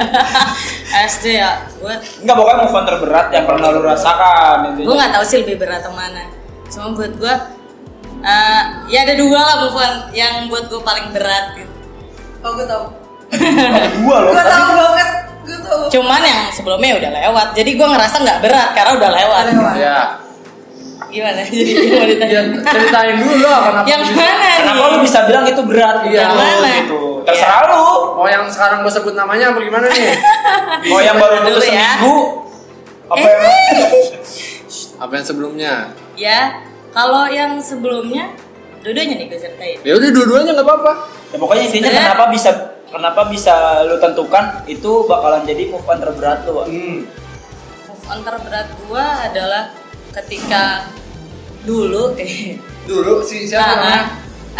D: SD ya gue
E: enggak pokoknya move on terberat yang pernah lu rasakan intinya.
D: gue nggak tahu sih lebih berat atau mana cuma buat gue eh, ya ada dua lah move on yang buat gue paling berat gitu
F: Oh gue tau
E: Ada dua loh
F: Gue
E: tapi
F: tau banget Gue tau
D: cuman yang sebelumnya udah lewat jadi gue ngerasa nggak berat karena udah lewat
F: Lewat
A: Ya.
D: gimana jadi mau ditanya
A: Ya, ceritain dulu lah kenapa. gitu.
D: yang
A: bisa-
D: mana
E: kenapa lu
D: nih
E: bisa bilang itu berat
A: Iya.
E: Lu
D: Mana?
E: gitu terserah lu
D: Iya.
A: Mau Oh, yang sekarang gue sebut namanya apa gimana nih?
E: mau yang baru
D: Dulu ya.
E: dulu
D: Eh.
E: seminggu apa yang
A: apa yang sebelumnya?
D: ya kalau yang sebelumnya dua-duanya nih gue ceritain
A: Ya udah dua-duanya nggak apa-apa.
E: Ya, pokoknya intinya
D: Sebenarnya-
E: kenapa bisa kenapa bisa lu tentukan itu bakalan jadi move on terberat lu Wak.
D: move on terberat gue adalah ketika dulu eh
A: Dulu si siapa namanya?
D: nah,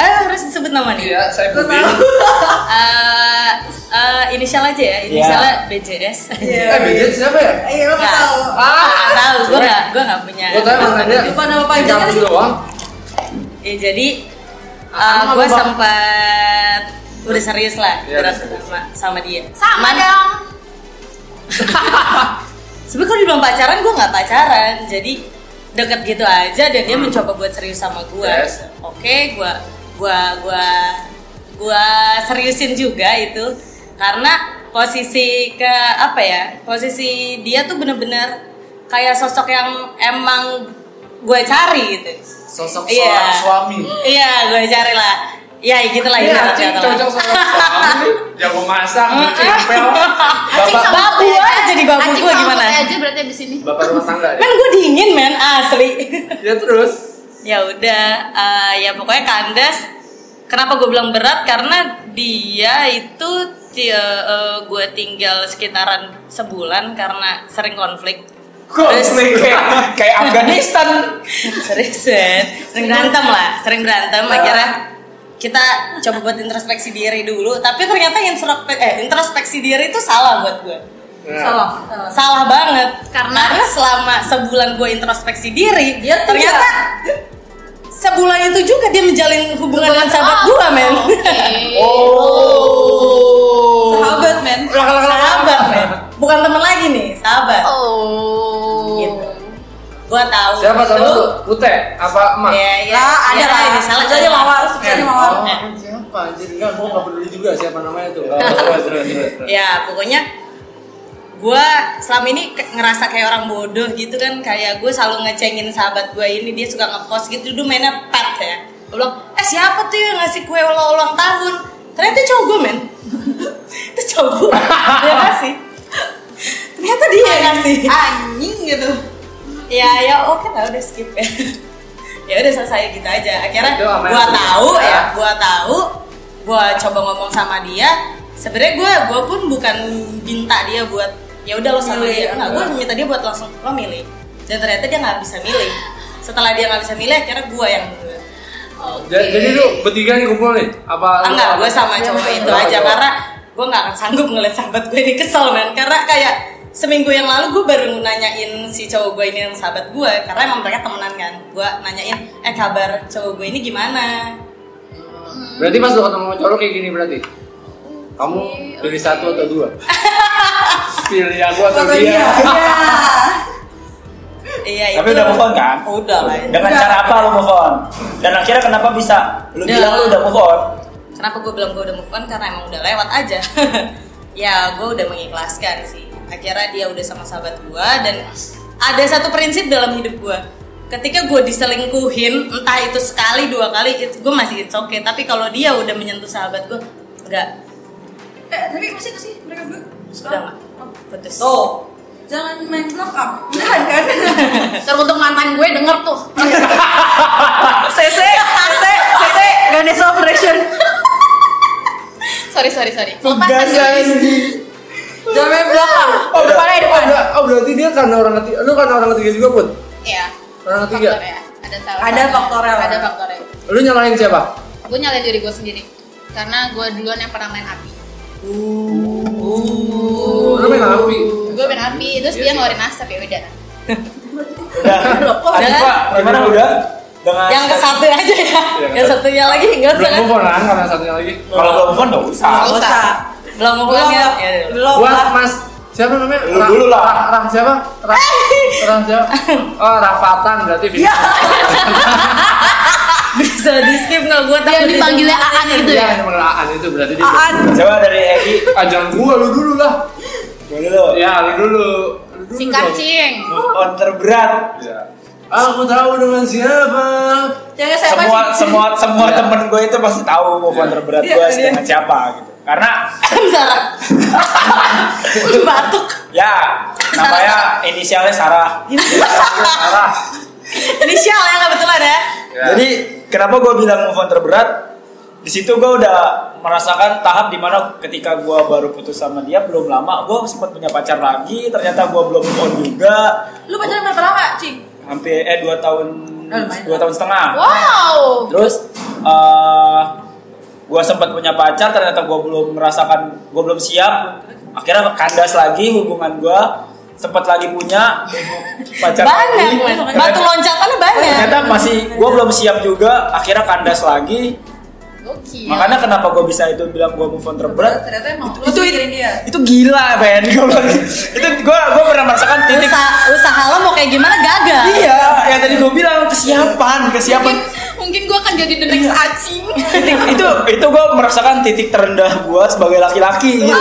D: eh harus disebut nama nih
A: Iya, saya Putih.
D: Eh, eh, inisial aja ya, inisialnya BJS.
A: Eh,
F: Iya
A: Bidit siapa ya? ah,
F: Iya lo
D: Nggak. Ah,
F: tau
D: Nggak tahu, gue nggak gue nggak punya.
A: Gue tanya mana dia?
F: Lupa nama
G: kan?
F: panjangnya
A: Di kampus
F: sih.
A: doang.
D: Ya jadi
A: Apaan
D: gue
A: apa, Bang?
D: sempat udah serius lah
A: Iya,
D: berat
A: udah serius.
D: sama, sama dia.
G: Sama dong.
D: Sebenernya kalau dibilang pacaran gue nggak pacaran, jadi deket gitu aja dan dia mencoba buat serius sama gue.
A: Hmm. Yes.
D: Oke, gue gue gue gue seriusin juga itu karena posisi ke apa ya posisi dia tuh bener-bener kayak sosok yang emang gue cari gitu.
A: Sosok
D: Iya.
A: seorang suami.
D: Iya, gue cari lah. Ya gitulah
A: Iya,
D: ibarat
A: cing,
D: kata lah.
A: cocok sama suami. Jago masak, bercempel.
G: Acing
A: Bapak
G: sama
D: babu
G: Putih
D: aja jadi babu
G: Acing
D: gua
G: sama
D: gimana?
G: Putih aja berarti di sini.
A: bapak rumah tangga deh.
D: Men gue Kan dingin men asli.
A: Ya terus.
D: ya udah, eh, ya pokoknya kandas. Kenapa gue bilang berat? Karena dia itu gue tinggal sekitaran sebulan karena sering konflik.
E: Konflik kayak, kayak Afghanistan
D: sering sering ya? sering berantem lah sering berantem akhirnya kita coba buat introspeksi diri dulu tapi ternyata introspeksi eh, introspeksi diri itu salah buat gue
A: Nah.
F: Salah salah.
D: salah banget
G: Karena?
D: selama sebulan gue introspeksi diri
F: Dia
D: ternyata sebulan itu juga dia menjalin hubungan dengan sahabat gue men
A: Gitu. Oh.
F: Sahabat men
A: Lah, lah, lah, lah.
D: sahabat men bukan teman lagi nih sahabat
G: Oh.
D: Gitu. gue tahu
A: Siapa sama
D: itu-
A: lu? Putih apa emak?
D: ya ya
F: Ah, ada
D: ya,
F: lah
D: ini salah Eh.
F: Sebetulnya
D: salah.
F: mawar Sebetulnya mawar
A: Oh, siapa anjir? Enggak, gua enggak peduli juga siapa namanya tuh. Oh, terus, terus, terus, terus.
D: ya pokoknya gue selama ini ke- ngerasa kayak orang bodoh gitu kan kayak gue selalu ngecengin sahabat gue ini dia suka ngepost gitu dulu mainnya pet ya gue bilang eh siapa tuh yang ngasih kue ulang ulang tahun ternyata cowok gue men itu cowok gue dia ngasih ternyata dia yang ngasih
F: Anjing gitu
D: ya ya oke lah udah skip ya ya udah selesai gitu aja akhirnya
A: Itu sama
D: gua
A: yang
D: tahu
A: kedua.
D: ya gua tahu gua coba ngomong sama dia sebenarnya gua gua pun bukan minta dia buat ya udah lo sama
F: Milih,
D: dia enggak gua
E: eh.
D: minta dia buat langsung lo milih dan ternyata dia nggak bisa milih setelah dia nggak bisa milih akhirnya gua yang milih.
A: Ja- Jadi lu bertiga nih kumpul nih? Apa
D: Ah,
A: lu-
D: enggak gua sama cowok itu
A: Sama
D: aja
A: cowok.
D: karena gua nggak akan sanggup ngeliat sahabat gue ini kesel men karena kayak seminggu yang lalu gue baru nanyain si cowok gue ini yang sahabat gue karena emang mereka temenan kan gue nanyain eh kabar cowok gue ini gimana
A: Berarti pas lu ketemu sama cowok lu kayak gini berarti? Kamu pilih satu atau dua? pilih aku atau
F: Foto
A: dia?
F: dia Iya
D: iya
E: tapi
D: itu
E: udah move on kan
D: udah lah ya.
E: dengan cara apa lu move on dan akhirnya kenapa bisa lu
D: Udah.
E: bilang lu udah move on
D: kenapa gue bilang gue udah move on karena emang udah lewat aja ya gue udah mengikhlaskan sih akhirnya dia udah sama sahabat gue dan ada satu prinsip dalam hidup gue ketika gue diselingkuhin entah itu sekali dua kali gue masih it's okay tapi kalau dia udah menyentuh sahabat gue enggak
F: Eh tapi masih gak sih mereka berdua?
D: udah enggak putus
F: Tuh Jangan main block up Jangan kan
G: Teruntuk mantan gue denger tuh.
F: CC CC CC Ganesha Operation
G: sorry sorry sorry.
E: Hmm.
G: Lepas
A: Enggak,
G: tadi.
A: guys.
F: Jangan main block up
A: Oh, depannya depan. Oh, berarti dia karena orang ketiga. Lu karena orang ketiga juga, Put?
G: Iya.
A: Orang ketiga.
G: Faktor ya. Ada salah.
F: Ada faktornya lah.
G: Ada faktornya.
A: Lu nyalahin siapa?
G: Gue nyalain diri gue sendiri. Karena gue duluan yang pernah main api.
A: Lu main api.
G: Gue main
A: Hmm. Iya
G: api, terus dia ngeluarin asap ya udah.
E: udah
D: Udah.
E: Atifa, Nah, gimana udah dengan
D: yang ke satu aja ya yang satunya lagi nggak
A: Belum
D: usah kan
A: move on kan karena satunya lagi.
E: kalau belum move on nggak usah
D: nggak usah belum mau pulang ya Ya, ya.
F: belum
A: Buat Mas siapa namanya?
E: Lu
A: Ra-
E: dulu lah.
A: Ra- Rah siapa? Rah, Rah siapa? Oh, Rafatan berarti. Iya.
D: bisa di skip nggak gue takut
G: Yang dipanggilnya Aan gitu
A: Iya,
G: ya.
A: yang bener Aan itu berarti dia.
D: Aan
E: coba dari Egi
A: Ajang gua lu dulu lah.
E: gua Iya, dulu
A: Ya, lu dulu. Lu dulu
G: Si
A: dong.
G: kancing.
A: Hmm.
E: move on terberat
A: Ya. Aku tahu dengan siapa.
F: jangan saya
E: semua semua semua
A: Iya.
E: temen gue itu pasti tahu move on terberat
F: Iya,
E: gue
F: iya.
E: dengan siapa gitu karena
D: Sarah Udah batuk
E: ya namanya inisialnya Sarah
A: Arah.
D: inisial ya kebetulan ya
E: Jadi kenapa gue bilang move on terberat? Di situ gue udah merasakan tahap dimana ketika gue baru putus sama dia belum lama, gue sempat punya pacar lagi. Ternyata gue belum move on juga,
F: lu pacaran berapa lama cing
E: hampir eh dua tahun
F: Oh, lumayan.
E: dua tahun setengah.
G: Wow.
E: Terus gue sempat punya pacar, ternyata gue belum merasakan, gue belum siap. Akhirnya kandas lagi hubungan gue, sempat lagi punya pacar
D: banyak
E: lagi.
D: Mas.
E: Ternyata-
D: batu loncatannya banyak
E: ternyata masih gue belum siap juga akhirnya kandas lagi
G: Gokil.
E: makanya kenapa gue bisa itu bilang gue move on terberat
F: ternyata emang lu itu dia
E: itu gila Ben gue itu gue gue pernah merasakan titik
D: usaha, usaha lo mau kayak gimana gagal
E: kan iya yang tadi gue bilang kesiapan kesiapan
G: Mungkin, mungkin gue akan jadi the next
A: Iya.
G: acing.
E: titik itu itu gue merasakan titik terendah gue sebagai laki-laki gitu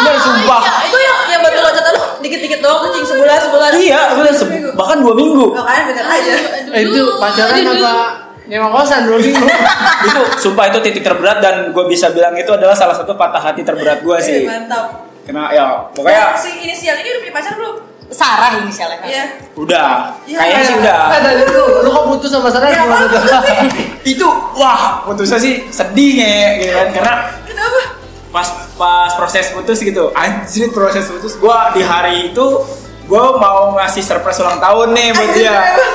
E: bener sumpah
F: itu yang yang batu loncatan lu dikit-dikit doang tuh cing sebulan sebulan
E: iya bener se- bahkan dua minggu
F: makanya bener aja
A: Eh, itu pacaran apa? Nyewa kosan dulu minggu.
E: itu sumpah itu titik terberat dan gue bisa bilang itu adalah salah satu patah hati terberat gue sih
F: Eh, mantap
E: kena ya pokoknya
F: si inisial ini udah punya pacar belum
D: Nah. Sarah inisialnya
F: iya
E: udah
F: Iya,
E: kayaknya sih
F: iya.
E: udah
A: Eh, tadi lu lu kok putus sama Sarah
G: Ya,
A: gimana tuh?
E: itu wah putusnya sih sedih ya gitu kan karena
F: kenapa
E: pas pas proses putus gitu anjir proses putus gua di hari itu gua mau ngasih surprise ulang tahun nih buat dia
F: Gitu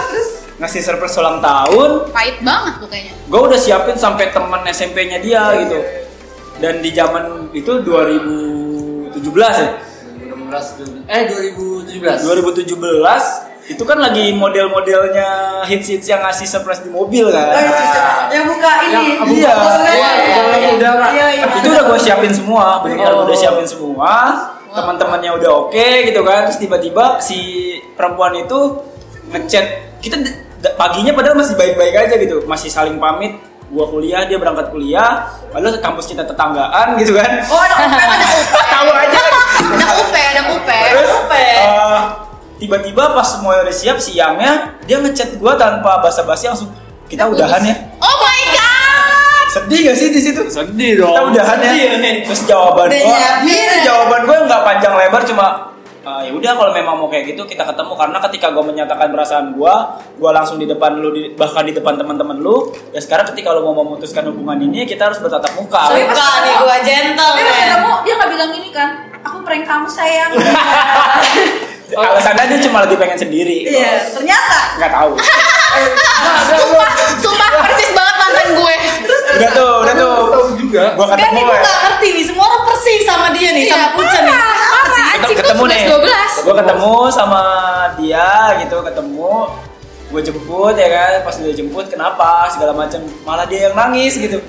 E: ngasih surprise ulang tahun
G: Pahit banget tuh kayaknya.
E: gua udah siapin sampai teman SMP-nya dia gitu dan di zaman itu 2017 ya
A: 2016 eh 2017.
E: 2017 itu kan lagi model-modelnya hits-hits yang ngasih surprise di mobil kan
F: oh, iya, yang buka ini
A: Yang abu-
E: Iya.
F: Foto surat.
A: Iya, iya, iya.
F: udara iya iya
E: itu udah gue siapin semua benar
A: Oh.
E: udah siapin semua teman-temannya udah oke gitu kan terus tiba-tiba si perempuan itu ngechat kita d- d- paginya padahal masih baik-baik aja gitu masih saling pamit gua kuliah dia berangkat kuliah padahal kampus kita tetanggaan gitu kan
F: oh ada UPN, ada UPN.
E: tahu aja
G: Ada upe, ada upe.
E: terus eh, tiba-tiba pas semuanya udah siap siangnya dia ngechat gua tanpa basa-basi langsung kita udahan ya
G: Oh my god.
E: sedih gak sih di situ
A: Sedih
E: kita
A: dong.
E: udahan ya terus jawaban
D: Udah
E: gua
D: nyiapin.
E: Iya, jawaban gue nggak panjang lebar cuma "Ah, ya udah kalau memang mau kayak gitu kita ketemu karena ketika gue menyatakan perasaan gue gue langsung di depan lu di- bahkan di depan teman-teman lu ya sekarang ketika lu mau memutuskan hubungan ini kita harus bertatap muka
F: Sorry,
D: Buka nih gue gentle
F: tapi pas
D: men.
F: ketemu Eh, dia nggak bilang gini kan aku prank kamu sayang
E: alasannya dia cuma lagi pengen sendiri
F: iya ternyata
E: nggak tahu
G: Sumpah, sumpah persis banget mantan gue.
E: udah tuh udah tuh
A: juga.
E: gue
D: Kan
E: ketemu
D: nih gue
E: ya. Iya,
D: gak ngerti nih, semua orang persis sama dia nih, sama Pucen nih Apa sih?
E: Ket- ketemu nih
G: 11-12.
E: gue ketemu sama dia gitu ketemu gue jemput ya kan pas dia jemput kenapa segala macam malah dia yang nangis gitu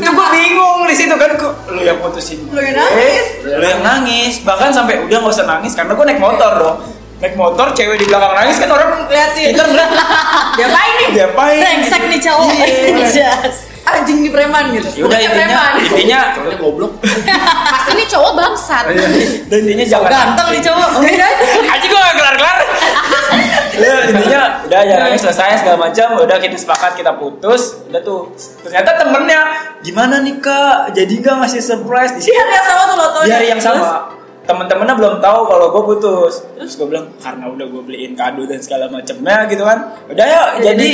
E: itu gue bingung di situ kan kok lu yang putusin
F: Lu yang
E: gue,
F: nangis.
E: lu yang nangis bahkan sampai udah nggak usah nangis karena gue naik motor dong naik motor cewek di belakang nangis kan orang
F: Liatin.
E: kita ngeliat
F: diapain nih
E: diapain
D: Brengsek nih cowok
E: Iya,
D: Yes.
F: anjing di preman gitu
E: ya udah
F: Bocah
E: intinya
F: preman.
E: intinya
A: Cowoknya goblok.
G: Pasti ini cowok bangsat.
E: dan intinya jangan
D: Ganteng nih cowok Udah.
E: Aji gue gak kelar-kelar Ya, intinya udah ya nangis selesai segala macam udah kita sepakat kita putus udah tuh ternyata temennya gimana nih kak jadi nggak ngasih surprise di
F: Di
E: sini
F: hari yang sama tuh lo tau
E: di hari Iya, yang sama temen-temennya belum tahu kalau gue putus terus gue bilang karena udah gue beliin kado dan segala macamnya gitu kan udah ya jadi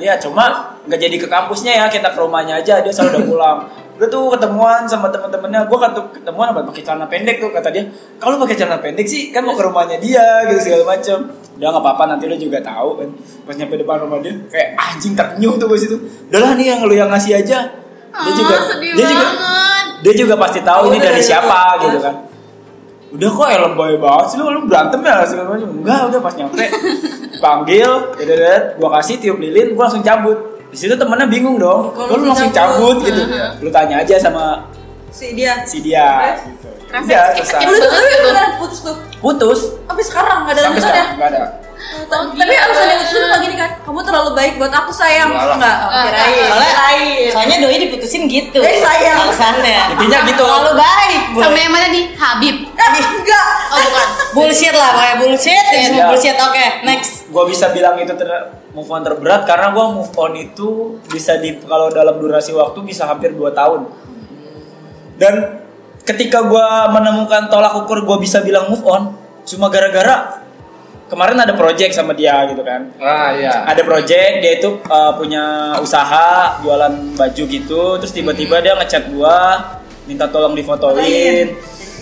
E: ya cuma nggak jadi ke kampusnya ya kita ke rumahnya aja dia selalu udah pulang udah tuh ketemuan sama temen-temennya gue kan ketemuan apa pakai celana pendek tuh kata dia kalau pakai celana pendek sih kan mau ke rumahnya dia gitu segala macam udah nggak apa-apa nanti lu juga tahu kan pas nyampe depan rumah dia kayak "Ah, anjing ternyuh tuh gue situ udahlah nih yang lu yang ngasih aja dia
G: Ah,
E: juga
G: sedih
E: dia juga
G: banget.
E: Oh, dia juga pasti tahu ini dari siapa gitu kan udah kok ya lebay banget sih lu lu berantem ya segala macam enggak udah pas nyampe panggil dedet gua kasih tiup lilin gua langsung cabut di situ temennya bingung dong
F: Kok
E: kok lu langsung cabut gitu lu tanya aja sama
F: si dia Eh,
E: si dia gitu.
G: Rasanya
E: Udah,
G: skip,
E: selesai.
G: skip.
F: udah tuh
G: banget
F: udah
G: gitu.
F: beneran putus tuh
E: putus
F: sampai sekarang nggak ada
E: sampai
F: lanjutan ya
E: sekarang nggak ada
F: Eh, tapi tapi harus ada lanjutan lagi nih kan kamu terlalu baik buat aku sayang
A: Walah.
F: nggak oh,
G: Nggak,
E: Iya.
F: kirain
D: Soalnya, soalnya doi diputusin gitu.
F: Eh, sayang.
D: Alasannya.
E: Intinya gitu.
D: Terlalu baik. Bu.
G: Sama yang mana nih? Habib.
F: Eh, enggak
G: Oh bukan.
D: Bullshit lah, pokoknya bullshit. Ini semua
E: Iya.
D: bullshit. Oke, next.
E: gue bisa bilang itu ter- move on terberat karena gue move on itu bisa di kalau dalam durasi waktu bisa hampir 2 tahun dan ketika gue menemukan tolak ukur gue bisa bilang move on cuma gara-gara kemarin ada project sama dia gitu kan
A: ah iya
E: ada project dia itu uh, punya usaha jualan baju gitu terus tiba-tiba dia ngechat gue minta tolong difotoin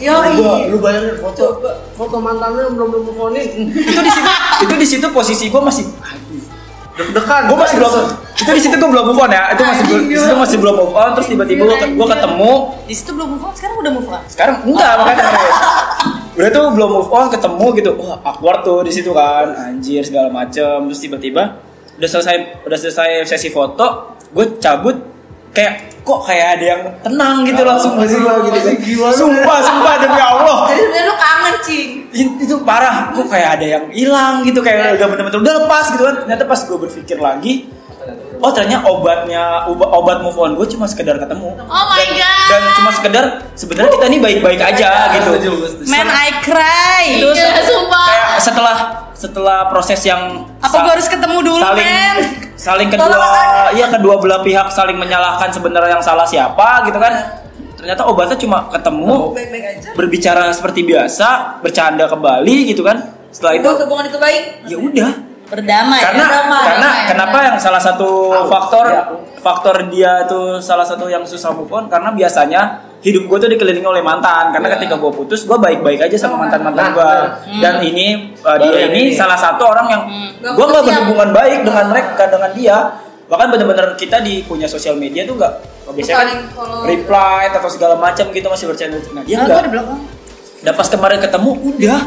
F: yo
E: Gua,
F: iya
A: lu bayangin foto foto mantan lu yang belum belum teleponin
E: itu di situ itu di situ posisi gue masih aduh
A: deg-degan
E: gue masih belum itu di situ gue belum move on ya itu masih belum di situ masih belum move on terus tiba-tiba gue ketemu
D: Di situ belum move on, sekarang udah move on.
E: sekarang enggak makanya udah tuh belum move on ketemu gitu wah awkward tuh di situ kan anjir segala macem terus tiba-tiba udah selesai udah selesai sesi foto gue cabut kayak kok kayak ada yang tenang gitu langsung
A: aduh,
E: gitu kan.
A: gila lu.
E: sumpah sumpah demi Allah
F: jadi sebenarnya lu kangen cing
E: It- itu parah kok kayak ada yang hilang gitu kayak udah bener-bener udah lepas gitu kan ternyata pas gue berpikir lagi oh ternyata obatnya oba- obat move on gue cuma sekedar ketemu
G: Oh my god.
E: dan cuma sekedar sebenarnya kita nih baik-baik aja gitu
A: Setuju, gua setuju.
D: Man, I cry.
G: Iya, sumpah.
E: kayak setelah setelah proses yang
D: Apa
E: sa-
D: gue harus ketemu dulu,
E: saling
D: men?
E: saling kedua ya kedua belah pihak saling menyalahkan sebenarnya yang salah siapa gitu kan ternyata obatnya cuma ketemu
F: baik-baik aja
E: berbicara seperti biasa bercanda kembali gitu kan setelah itu
F: buat hubungan itu baik
E: ya udah
D: Berdamai.
E: karena
F: damai,
E: karena
G: damai,
E: kenapa
G: damai.
E: yang salah satu
A: Tahu,
E: faktor
A: iya, aku.
E: faktor dia tuh salah satu yang susah move on karena biasanya hidup gue tuh dikelilingi oleh mantan karena ketika gue putus gue baik-baik aja sama mantan
A: Nah,
E: mantan gue
A: nah.
E: dan ini uh,
A: Baru
E: dia ini
A: ini.
E: salah satu orang yang
F: Nggak
E: gue nggak
F: putus ya.
E: berhubungan baik dengan mereka dengan dia bahkan bener-bener kita di punya sosial media tuh nggak biasanya kan
F: Saling follow.
E: reply atau segala macam gitu masih bercanda nah dia
D: gue
E: nggak
D: udah belakang.
E: Udah pas kemarin ketemu udah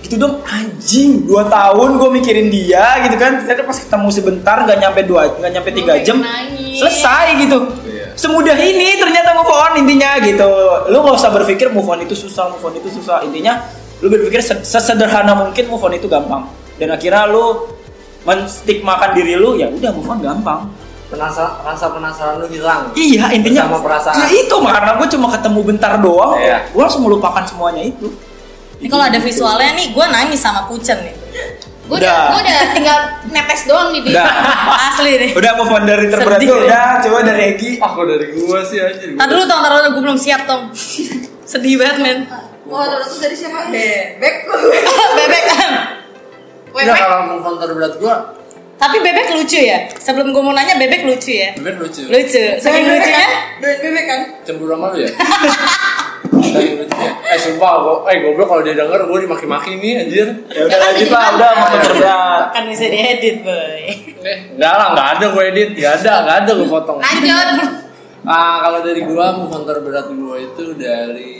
E: gitu dong anjing 2 tahun gue mikirin dia gitu kan ternyata pas ketemu sebentar nggak nyampe dua nggak nyampe tiga
G: pengen
E: jam
G: nangis.
E: selesai gitu
A: Iya.
E: semudah ini ternyata move on intinya gitu lu nggak usah berpikir move on itu susah move on itu susah intinya lu berpikir se- sesederhana mungkin move on itu gampang dan akhirnya lu menstigmakan diri lu ya udah move on gampang
A: penasaran rasa penasaran lu hilang
E: iya intinya
A: Sama perasaan.
E: ya itu karena gue cuma ketemu bentar doang
A: Iya.
E: gue langsung melupakan semuanya itu
D: Ini kalau ada visualnya nih, gue nangis sama Pucen nih.
G: Gue
E: Udah.
G: udah, gue udah tinggal nepes doang nih di.
E: Udah.
D: Asli nih.
E: Udah move on dari terberat
D: Sedih
E: tuh
D: ya.
E: udah coba dari Egi.
A: aku dari gua sih anjir
D: Ntar dulu tong, ntar dulu gue belum siap tong. Sedih banget men.
F: wah terus dari siapa bebek
D: bebek.
A: Nggak,
G: Weh, weh.
A: kalau move on terberat gua
D: Tapi bebek lucu ya. Sebelum gue mau nanya bebek lucu ya.
A: bener lucu
D: Lucu. Saking
F: Doain bebek
D: lucunya.
F: kan? doain bebek kan
A: cemburu sama lu ya Dari lucu ya? eh sumpah gua eh goblok kalau dia denger gua dimaki-maki nih anjir
E: Ya udah lanjut lah, udah move on terberat.
D: Kan bisa diedit boy.
A: eh enggak lah enggak ada gua edit enggak ada enggak ada gua potong
G: Lanjut.
A: ah kalau dari gua move on terberat gua itu dari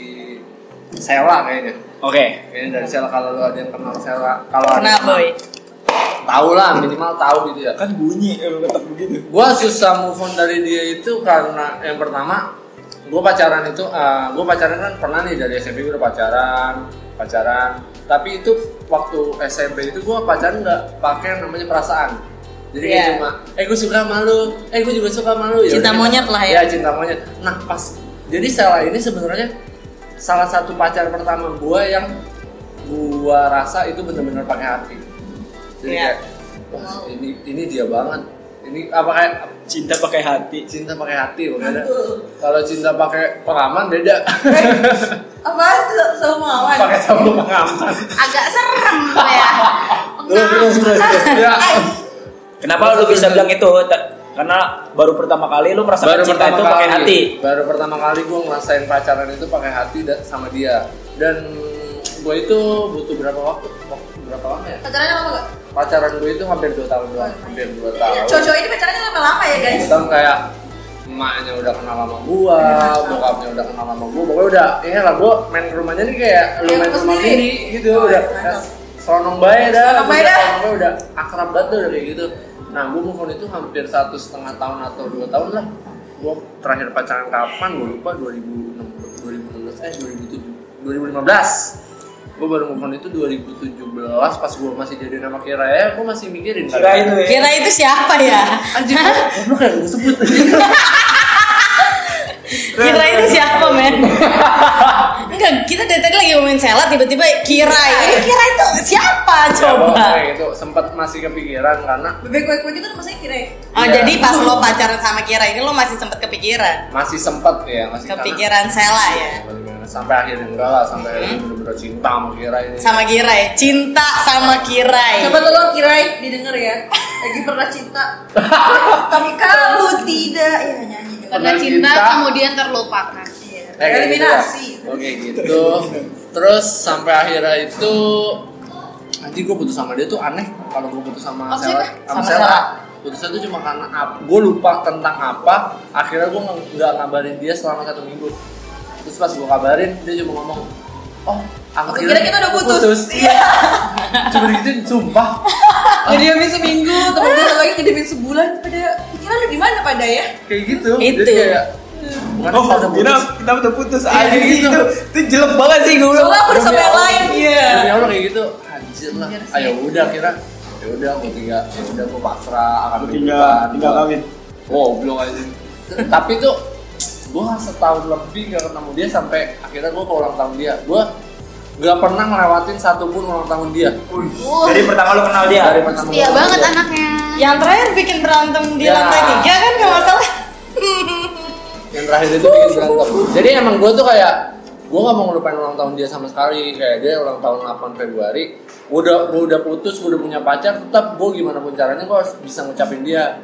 A: Sela kayaknya
E: Oke.
A: kayaknya dari Sela kalau lu ada yang kenal Sela kalau ada
D: Pernah boy.
A: tahu lah minimal tahu gitu ya
E: Kan bunyi eh ketok begitu.
A: gue susah move on dari dia itu karena yang pertama gue pacaran itu gue pacaran kan pernah nih dari SMP gue udah pacaran pacaran tapi itu waktu SMP itu gue pacaran nggak pakai yang namanya perasaan jadi kayak
D: Iya.
A: cuma eh gue suka sama lu eh gue juga suka sama lu
D: Cinta
A: udah.
D: monyet lah ya.
A: Iya, cinta monyet nah pas jadi Sela ini sebenarnya salah satu pacar pertama gue yang gue rasa itu bener-bener pakai hati jadi
D: Iya.
A: kayak wah ini ini dia banget ini apa kayak
E: Cinta pakai hati.
A: cinta pakai hati makanya kalau cinta pakai pengaman beda
F: apa tuh sama awan
A: pakai sabun pengaman
G: agak serem ya. Eh.
E: Terus terus terus. terus.
A: ya
E: Kenapa lu bisa bilang itu? Ta- Karena baru pertama kali lu
A: baru
E: merasakan cinta
A: pertama
E: itu
A: kali
E: pakai hati.
A: baru pertama kali gue ngerasain pacaran itu pakai hati dan sama dia dan gue itu butuh berapa waktu Waktu berapa lama ya
F: pacarannya lama nggak
G: Iya,
A: pacaran gue itu hampir 2 tahun doang hampir 2 tahun
F: cowok ini pacarannya lama-lama ya guys
A: Kita kayak emaknya udah kenal sama gua,
F: Iya.
A: bokapnya udah kenal sama gua, pokoknya udah ini lah gua main ke rumahnya nih kayak lu
F: Iya,
A: main
F: Kayak lu
A: ke rumah
F: sendiri.
A: sini gitu
F: Oh,
A: udah
F: mantap.
A: Sonong bae dah,
F: Selonong bae dah.
A: Selonong bae udah akrab banget dah udah kayak gitu. Nah, gua move on itu hampir satu setengah tahun atau dua tahun lah. Gua terakhir pacaran kapan? Gua lupa 2016, 2016 eh 2007, 2015. Gua baru move on itu 2017 pas gua masih jadi nama Kira ya, gua masih mikirin.
E: Kira itu ya.
D: Kira itu siapa ya?
A: Anjir, goblok kan gua sebut.
D: Kira itu siapa men? Enggak, kita dari tadi lagi ngomongin salad tiba-tiba kira ini kira itu siapa coba?
A: Ya, itu sempat masih kepikiran karena
F: Bebek kue-kue gitu namanya kira ya?
D: Oh
A: Iya.
D: jadi pas lo pacaran sama kira ini lo masih sempet kepikiran,
A: masih sempat ya, masih karena-
D: kepikiran Sela ya Hmm?
A: sampai akhirnya enggak lah sampai akhirnya bener-bener cinta sama Kira ini
D: sama Kirai, cinta sama Kirai.
F: Coba tolong Kirai didengar ya. Lagi pernah cinta. Tapi kamu tidak ya nyanyi. dong.
G: Karena
A: Pernah
G: cinta
A: cinta.
G: kemudian terlupakan.
F: Iya.
A: Eh, kayak gitu lah.
F: Eliminasi.
A: oke gitu terus sampai akhirnya itu nanti gue putus sama dia tuh aneh kalau gue putus sama
G: Oh,
A: Sela
G: sih,
A: sama
D: sama
A: Sela
D: Sela.
A: putusnya tuh cuma karena gue lupa tentang apa akhirnya gue nggak ngabarin dia selama satu minggu terus pas gue kabarin dia cuma ngomong oh aku
F: Aku kira kita udah putus."
A: iya cuma digituin sumpah
F: Ngediamin seminggu, temen gue satu lagi ngediamin sebulan pada pikiran lu di mana pada ya?
A: kayak gitu
D: Itu.
A: jadi kayak bukan
E: Oh,
A: kita udah putus
E: kita kita udah putus
A: Iya,
E: aja
A: gitu.
E: gitu. Itu jelek banget sih gue.
F: Soalnya aku udah sama yang lain. Iya.
A: Demi Allah kayak gitu, anjir lah. Ayo udah kira, ya udah gue tinggal, ya udah gue pasrah akan
E: Tinggal tinggal kawin.
A: Wow, belum aja. Tapi tuh gue setahun lebih gak ketemu dia sampai akhirnya gue ke ulang tahun dia. Gue gak pernah ngelewatin satupun ulang tahun dia.
G: Wah,
E: Jadi pertama lu kenal dia.
A: Dari pertama
F: Iya
G: setia
A: gua
G: banget
A: ketemu dia.
G: anaknya.
D: Yang terakhir bikin berantem di
A: Ya.
D: lantai tiga kan kalau nggak salah.
A: yang terakhir itu bikin berantem jadi emang gue tuh kayak gue gak mau ngelupain ulang tahun dia sama sekali kayak dia ulang tahun 8 Februari Gua udah gua udah putus gue udah punya pacar tetap gue gimana pun caranya gue harus bisa ngucapin dia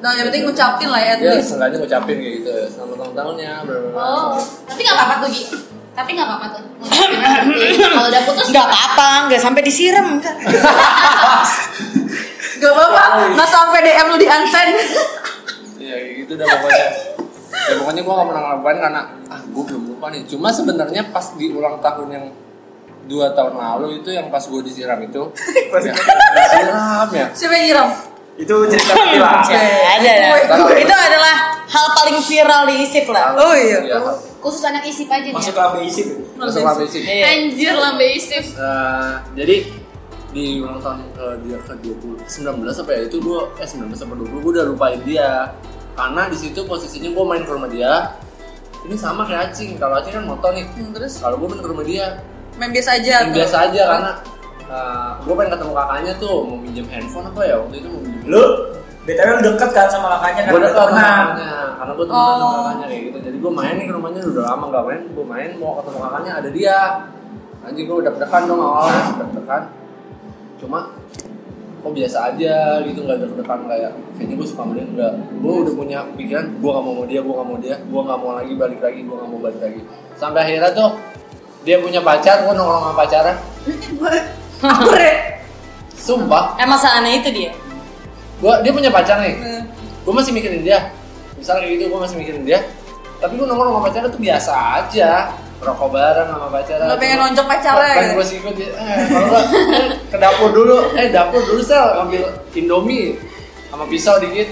F: Nah, yang penting ngucapin lah ya at
A: dia
F: least.
A: seenggaknya ngucapin kayak gitu selamat ulang tahunnya bla bla bla.
G: Oh, tapi nggak apa-apa tuh Gi. Tapi nggak apa-apa tuh. Iya. Kalau udah putus
D: Nggak apa-apa, nggak sampai disiram. nggak.
F: Gak apa-apa, nggak sampai DM lu di unsend.
A: Iya kayak gitu dah pokoknya. ya pokoknya gue gak pernah ngelakuin karena ah gue belum lupa nih. Cuma sebenarnya pas di ulang tahun yang dua tahun lalu itu yang pas gue disiram itu, ya, disiram ya.
F: Siapa yang nyiram?
E: Itu cerita gila.
D: Ya, ada. ada.
A: Gue-
D: Itu adalah hal paling viral di isip lah.
F: Oh iya.
A: Iya.
G: khusus anak isip aja nih.
E: Masuk ke
G: ya.
E: ambil isi.
A: Langsung habis sih.
D: Iya.
G: Anjir lambe isip.
A: Eh, jadi di ulang tahun yang ke dia ke 20 19 apa ya itu gue eh 19 sampai 20 gue udah lupain dia karena di situ posisinya gue main ke rumah dia ini sama kayak acing kalau acing kan motor nih
F: Hmm, Terus Ya,
A: kalau gue main ke rumah dia
F: main biasa aja.
A: yang biasa aja karena uh, gue pengen ketemu kakaknya tuh mau minjem handphone apa ya waktu itu mau minjem
E: Lu BTW lu deket kan sama kakaknya kan?
A: gue udah tau
E: Pernah.
A: kakaknya karena gue temen sama
F: Oh.
A: kakaknya kayak gitu jadi gue main nih ke rumahnya udah lama gak main gue main mau ketemu kakaknya ada dia anjing gue udah deg-degan dong awalnya deg-degan cuma kok biasa aja gitu nggak deg-degan kayak kayaknya gue suka sama dia enggak gue udah punya pikiran gue gak mau sama dia gue gak mau dia gue gak mau lagi balik lagi gue gak mau balik lagi sampai akhirnya tuh dia punya pacar gue nongkrong sama pacarnya
F: Aku re.
A: sumpah
D: Emang seaneh Eh, itu dia.
A: gua dia punya pacar nih gue masih mikirin dia misalnya kayak gitu gue masih mikirin dia tapi gue nongkrong sama pacarnya tuh biasa aja rokok bareng sama pacarnya
F: Nggak pengen lonjong pacarnya
A: pengen
F: gitu.
A: gue sikut dia eh kalau nggak, eh, ke dapur dulu eh dapur dulu sel ambil indomie sama pisau dikit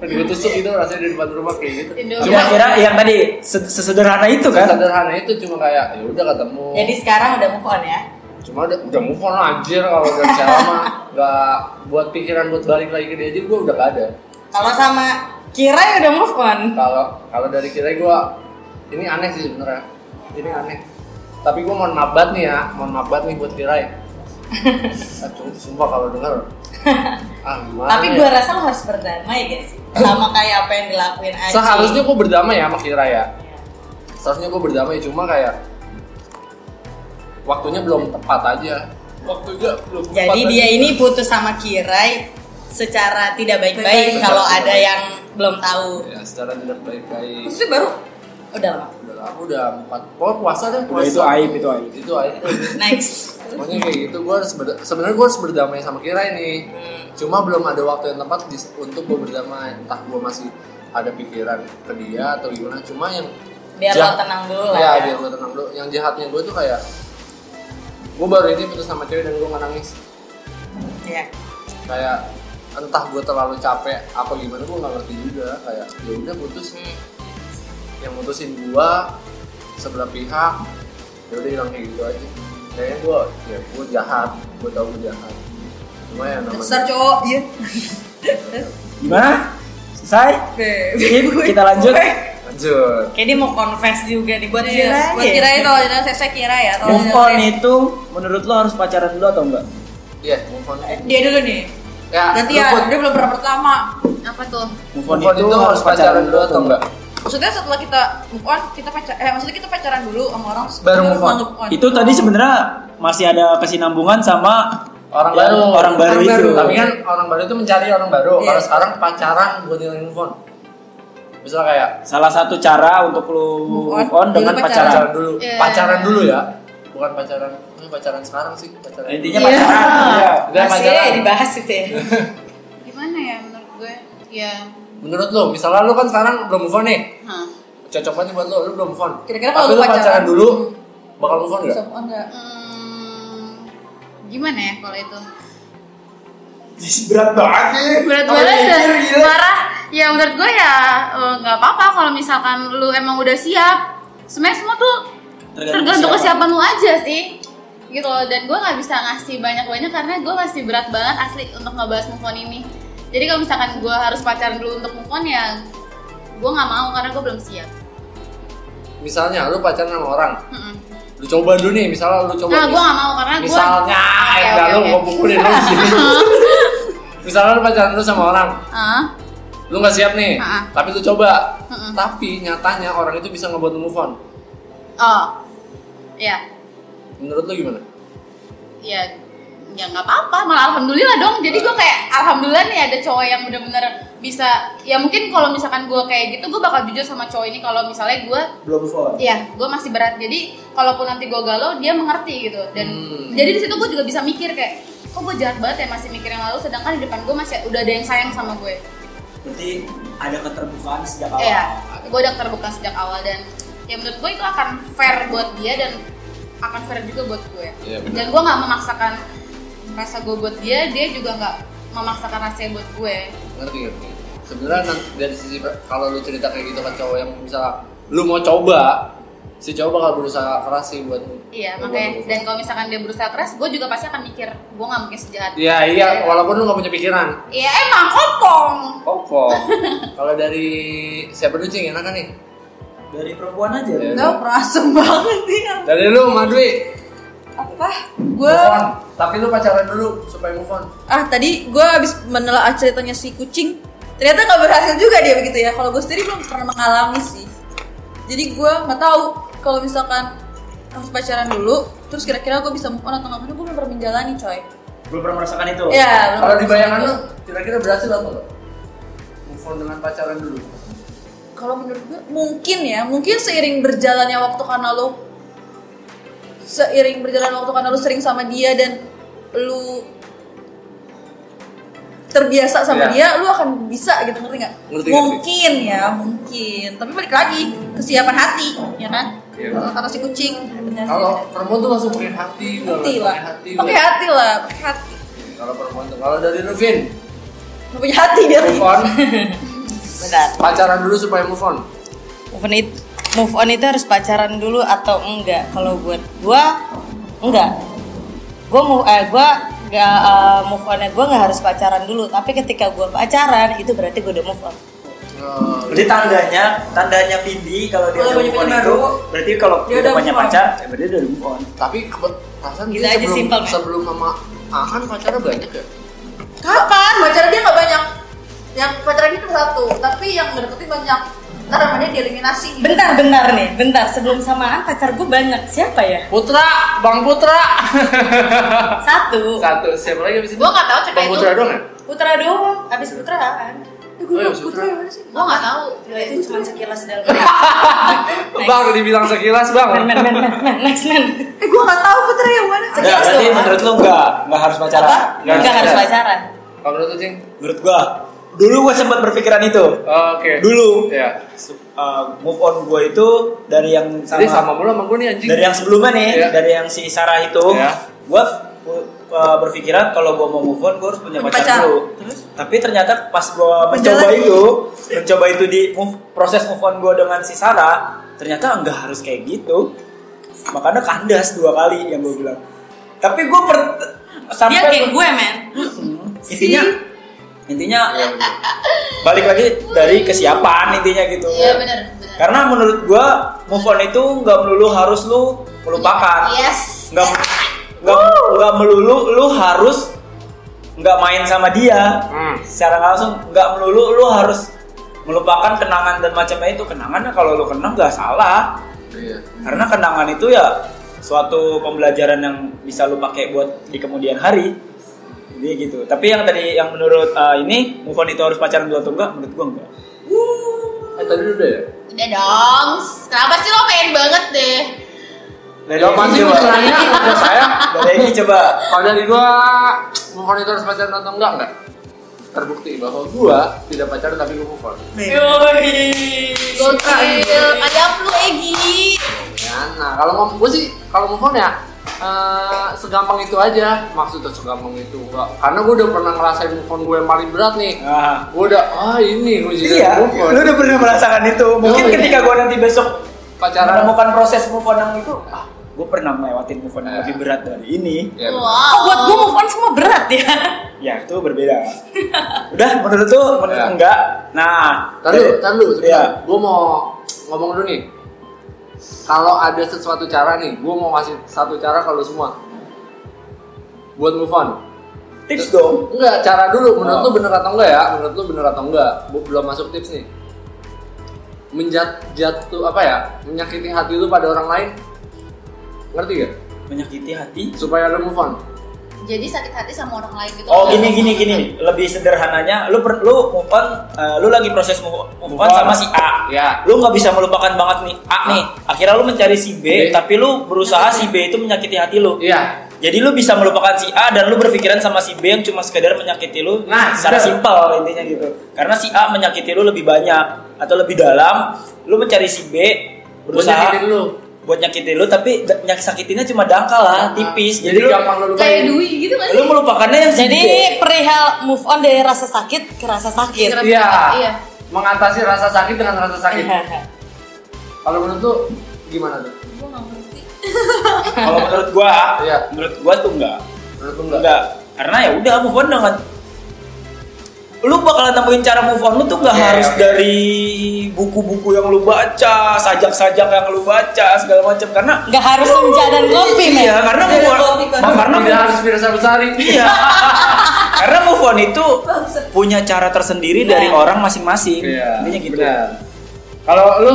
A: kan gue tusuk gitu rasanya di depan rumah kayak gitu
G: Indomie.
E: Cuma kira yang tadi se- sesederhana itu kan?
A: sederhana itu cuma kayak ya udah ketemu
D: Jadi sekarang udah move on ya.
A: cuma udah, udah move on lah, anjir kalau udah sama mah nggak buat pikiran buat balik lagi ke dia aja gue udah gak ada
D: Kalau sama Kirai udah move on.
A: kalau kalau dari kita gue ini aneh sih sebenarnya ini aneh tapi gue mohon maaf banget nih ya mohon maaf banget nih buat Tirai Ah, cum- sumpah kalau denger ah gimana
D: Tapi
A: ya?
D: gue rasa lo harus berdamai guys sama kayak apa yang dilakuin Aji.
A: seharusnya gue berdamai ya sama Tirai ya seharusnya gue berdamai cuma kayak waktunya belum tepat aja waktunya belum tepat
D: Jadi
A: aja.
D: dia ini putus sama Kirai secara tidak baik-baik
A: Baik-baik.
D: kalau ada yang belum tahu.
A: ya secara tidak baik-baik
F: Terus dia baru
D: Udah lama.
A: udah lama udah empat pokoknya puasa deh
E: Udah
A: puasa
E: itu aib itu aib.
A: itu aib
D: Next.
A: Pokoknya kayak gitu, gue harus berda- sebenarnya gue harus berdamai
D: Hmm.
A: sama Kira ini. Cuma belum ada waktu yang tepat di- untuk gue berdamai. Entah gue masih ada pikiran ke dia atau gimana cuma yang
D: Biar lo
A: jahat-
D: tenang dulu lah
A: Iya,
D: ya.
A: biar lo tenang dulu yang jahatnya gue tuh kayak gue baru ini putus sama cewek dan gue nggak nangis
D: Iya.
A: kayak entah gue terlalu capek apa gimana gue nggak ngerti juga kayak ya udah putus
F: Hmm.
A: nih yang mutusin gue sebelah pihak ya udah hilang kayak gitu aja kayaknya gue ya gue jahat gue tau gue jahat cuma ya namanya
F: Dasar cowok. Iya.
E: Gimana? Selesai? Sip, kita lanjut.
A: lanjut
D: Kayak dia mau confess juga nih buat kira
F: Buat kira ya kalau ada saya saya kira ya. kalau
E: Move
F: ada-
E: on itu menurut lo harus pacaran dulu atau enggak?
A: iya move on
F: Dia dulu nih.
A: ya
F: Nanti
A: lu
F: ya,
A: put-
F: dia belum pernah pertama.
G: apa tuh
E: Move
A: move on itu harus pacaran dulu atau enggak
F: Maksudnya setelah kita move on, kita pacar, eh maksudnya kita pacaran dulu sama orang terus
A: Baru
F: kita
A: move on.
E: Itu tadi sebenarnya masih ada kesinambungan sama
A: Ya, orang
E: yang
A: baru
E: orang baru
F: Orang
E: itu.
F: baru.
A: tapi kan orang baru itu mencari orang baru
F: Iya.
A: kalau sekarang pacaran buat ngilangin move on misalnya kayak
E: salah satu cara untuk lu
F: Move on,
E: move on
F: dulu
E: dengan
F: pacaran.
E: pacaran.
A: pacaran dulu
G: Iya.
A: pacaran dulu ya bukan pacaran ini pacaran sekarang sih pacaran
E: Intinya pacaran. ya.
A: Udah,
D: Masih
A: pacaran.
D: ya dibahas itu ya.
G: gimana ya menurut gue ya
A: menurut lo misalnya lo kan sekarang belum move on nih
G: hah.
A: cocok banget buat lo lo belum move on
F: Kira-kira kalau
A: Tapi
F: lu
A: lu pacaran,
F: pacaran
A: dulu bakal move on gak?
F: Move on enggak?
G: Hmm, gimana ya kalau itu
E: Berat banget.
G: berat
A: Oh,
G: banget
A: iya,
G: dan parah ya menurut gue ya eh, nggak apa-apa kalau misalkan lu emang udah siap sebenarnya semua tuh
E: Tergantung
G: tergantung
E: kesiapan.
G: kesiapan lu aja sih gitu loh dan gue nggak bisa ngasih banyak-banyak karena gue masih berat banget asli untuk ngebahas move on ini jadi kalau misalkan gue harus pacaran dulu untuk move on ya gue nggak mau karena gue belum siap
A: misalnya lo pacaran sama orang
G: Mm-mm.
A: lu coba dulu nih misalnya lu coba
G: nah gue nggak mau karena gue
A: misalnya
G: Oke,
A: enggak
G: oke,
A: lu
G: oke.
A: gua pukulin lu di sini. misalnya lu pacaran dulu sama orang
G: Ah,
A: lu nggak siap nih
G: Ah.
A: tapi lu coba
G: Mm-mm.
A: tapi nyatanya orang itu bisa ngebuat lu move on
G: oh ya
A: menurut lu gimana
G: ya ya nggak apa-apa malah alhamdulillah dong jadi gue kayak alhamdulillah nih ada cowok yang bener-bener bisa ya mungkin kalau misalkan gue kayak gitu gue bakal jujur sama cowok ini kalau misalnya gue
E: Belum move on.
G: ya gue masih berat jadi kalaupun nanti gue galau dia mengerti gitu dan
A: Hmm.
G: jadi di situ gue juga bisa mikir kayak kok gue jahat banget ya masih mikir yang lalu sedangkan di depan gue masih udah ada yang sayang sama gue
E: Berarti ada keterbukaan sejak awal.
G: Iya, gue udah terbuka sejak awal dan ya menurut gue itu akan fair buat dia dan akan fair juga buat gue.
A: Iya, benar.
G: dan gue nggak memaksakan rasa gue buat dia, dia juga nggak memaksakan rasanya buat gue.
A: ngerti ngerti sebenarnya nan- dari sisi kalau lu cerita kayak gitu ke cowok yang bisa lu mau coba si cowok bakal berusaha keras sih buat
G: Iya,
A: buat
G: makanya
A: move on.
G: dan kalau misalkan dia berusaha keras, gue juga pasti akan mikir gue nggak mungkin sejahat.
A: iya iya walaupun lu gak punya pikiran
G: Iya emang kopong.
A: Opo. kalau dari siapa dulu cing enak kan nih
E: Dari perempuan aja.
A: Iya.
F: Enggak, perasem banget nih.
A: dari lu Madwi
F: Apa? Gue
A: move on tapi lu pacaran dulu supaya move on
F: ah tadi gue abis menelaah ceritanya si kucing ternyata nggak berhasil juga dia begitu ya kalau gue sendiri belum pernah mengalami sih jadi gue nggak tahu kalau misalkan harus pacaran dulu terus kira-kira gue bisa move on atau nggak karena gue belum pernah menjalani coy
E: Belum pernah merasakan itu.
F: ya
A: Oh. kalau di bayangan lu kira-kira berhasil atau enggak move on dengan pacaran dulu
F: kalau menurut gue mungkin ya mungkin seiring berjalannya waktu karena lo seiring berjalan waktu karena lo sering sama dia dan lu terbiasa sama dia lu akan bisa gitu ngerti nggak
A: Iya. Ngerti, ngerti.
F: mungkin ya mungkin tapi balik lagi kesiapan hati ya kan
A: Iya.
F: kata si kucing benar
A: kalau perempuan tuh langsung pakai hati
F: hati
A: banget,
F: lah
A: pakai hati
F: pakai
A: banget.
F: hati lah pakai hati
A: kalau perempuan tuh kalau dari lu Vin
F: Nggak punya hati dia
A: move on
D: Benar.
A: pacaran dulu supaya move on
D: Move on itu, move on itu harus pacaran dulu atau enggak? Kalau buat gua enggak. Gua move eh gua enggak eh, move onnya gua nggak harus pacaran dulu, tapi ketika gua pacaran itu berarti gua udah move on.
A: Eh,
E: Berarti tandanya, tandanya Vindi kalau dia
F: Kalau
E: udah
F: punya
E: move on
F: pacar
E: itu,
F: baru,
E: berarti kalau
F: dia
E: dia
F: udah
E: udah punya
F: move on.
E: pacar, ya berarti dia udah move on.
A: tapi kebe- perasaan
D: Gitu
A: dia
D: aja,
A: sebelum,
D: simple, Mat.
A: sebelum sama Ahan pacarnya banyak ya
F: kapan pacaran dia nggak banyak yang pacaran itu satu tapi yang ngedeketin banyak ntar namanya dieliminasi
D: Bentar, bentar nih, bentar. Sebelum samaan pacar gua banyak. Siapa ya?
A: Putra Bang Putra
D: Satu.
A: satu siapa lagi abis itu
G: Gua nggak tahu cerita
A: Bang
G: itu.
A: Putra doang ya
D: Putra doang, habis putra apaan?
A: gue oh, Putra
G: Gue nggak tahu.
D: Gila, itu cuma sekilas dalam.
A: Oh, bang dibilang sekilas bang
D: Men, men, men, men, men, next men.
F: eh gue nggak tahu putra yang mana
E: Enggak,
D: Sekilas
E: berarti
D: doang.
E: menurut lu enggak, enggak harus pacaran.
D: Apa? Enggak harus pacaran.
A: kalau menurut lu cing
E: Menurut gua dulu gue sempat berpikiran itu
A: Oke.
E: dulu
A: Ya.
E: Uh, move on gue itu dari yang
A: Jadi Eh, sama
E: sama,
A: mulu sama gue nih anjing.
E: dari yang sebelumnya nih
A: Iya.
E: dari yang si Sarah itu
A: Iya.
E: gue uh, berpikiran kalau gue mau move on gue harus punya pacar,
D: Pacar.
E: dulu tapi ternyata pas gue mencoba
D: Menjalani.
E: itu mencoba itu di move, proses move on gue dengan si Sarah ternyata nggak harus kayak gitu makanya kandas dua kali yang gue bilang tapi gue per sampai
D: Dia kayak gue men.
E: intinya intinya
A: Iya,
E: balik lagi dari kesiapan intinya gitu
G: Iya benar benar.
E: karena menurut gua move on itu nggak melulu harus lu melupakan.
G: Yes.
E: Nggak nggak nggak melulu lu harus nggak main sama dia.
A: Hmm.
E: Secara nggak langsung nggak melulu lu harus melupakan kenangan dan macamnya itu kenangannya kalau lu kenang nggak salah
A: Iya.
E: karena kenangan itu ya suatu pembelajaran yang bisa lu pakai buat di kemudian hari jadi gitu tapi yang tadi yang menurut uh, ini move on itu harus pacaran dulu atau enggak menurut gua enggak
A: Eh tadi udah ya?
G: Udah dong. Kenapa sih lo pengen banget deh?
E: dari
A: Jawaban
E: ini
A: sih
E: coba
A: sebenarnya kalau saya
E: dari ini coba
A: kalau dari gua move on itu harus pacaran atau enggak enggak? Terbukti bahwa gua tidak pacaran tapi gua move on.
G: Gokil. Ada eh, lu Egi.
A: Ya, nah kalau ngomong gue sih kalau move on ya eh, segampang itu aja maksudnya segampang itu enggak karena gue udah pernah ngerasain move on gue yang paling berat nih
E: nah,
A: gue udah ah ini gue jadi
E: iya
A: move on
E: lu udah pernah merasakan itu mungkin
A: Oh, iya.
E: ketika gua nanti besok
A: pacaran
E: menemukan proses move on yang itu ah gua pernah melewatin move on yang
A: Iya.
E: lebih berat dari ini
A: ya,
G: Wow.
D: Oh buat gue move on semua berat ya.
E: ya itu berbeda udah menurut tuh menurut
A: Ya.
E: enggak nah
A: Tar dulu, tar dulu.
E: Iya.
A: Gue mau ngomong dulu nih. Kalau ada sesuatu cara nih, gue mau ngasih satu cara kalau semua buat move on.
E: tips dong
A: Enggak, cara dulu. Menurut
E: Oh.
A: lu bener atau enggak ya? Menurut lu bener atau enggak? Gue belum masuk tips nih. Menjat jatuh apa ya? Menyakiti hati lu pada orang lain. Ngerti gak?
E: menyakiti hati
A: Supaya lu move on.
G: Jadi sakit hati sama orang lain gitu.
E: Oh gini gini gini lebih sederhananya lu per, lu move on eh, lu lagi proses move, move on
A: Move on.
E: sama si A
A: Ya.
E: lu nggak bisa melupakan banget nih A nih akhirnya lu mencari si
A: B.
E: B tapi lu berusaha si B itu menyakiti hati lu
A: Iya.
E: jadi lu bisa melupakan si A dan lu berpikiran sama si B yang cuma sekedar menyakiti lu
A: Nah,
E: secara
A: betul.
E: simpel intinya gitu karena si A menyakiti lu lebih banyak atau lebih dalam lu mencari si B berusaha
A: Menyakitin lu.
E: buat nyakitin lu tapi da- nyak sakitinnya cuma dangkal lah tipis
A: Nah, Jadi,
E: jadi, lu,
A: gampang lu lupain.
G: Kayak Dwi gitu kan
E: lu melupakannya yang si
D: Jadi
E: B.
D: perihal move on dari rasa sakit ke rasa sakit.
A: Iya.
G: Iya.
A: Mengatasi rasa sakit dengan rasa sakit.
E: Iya.
A: Kalau menurut lu gimana tuh?
F: gue nggak ngerti
E: kalau menurut gua
A: Iya.
E: menurut gua tuh enggak
A: Menurut lu enggak?
E: enggak karena ya udah move on dengan lu bakalan nemuin cara move on lu tuh nggak
A: Oke,
E: harus
A: oke.
E: dari buku-buku yang lu baca sajak-sajak yang lu baca segala macam karena
D: Gak harus senja dan kopi men.
E: iya karena move on
F: kopi, Bang.
E: Ma- karena
A: Tidak harus Firsa Besari.
E: iya karena move on itu punya cara tersendiri dari orang masing-masing intinya gitu
A: Iya, benar. Kalau lu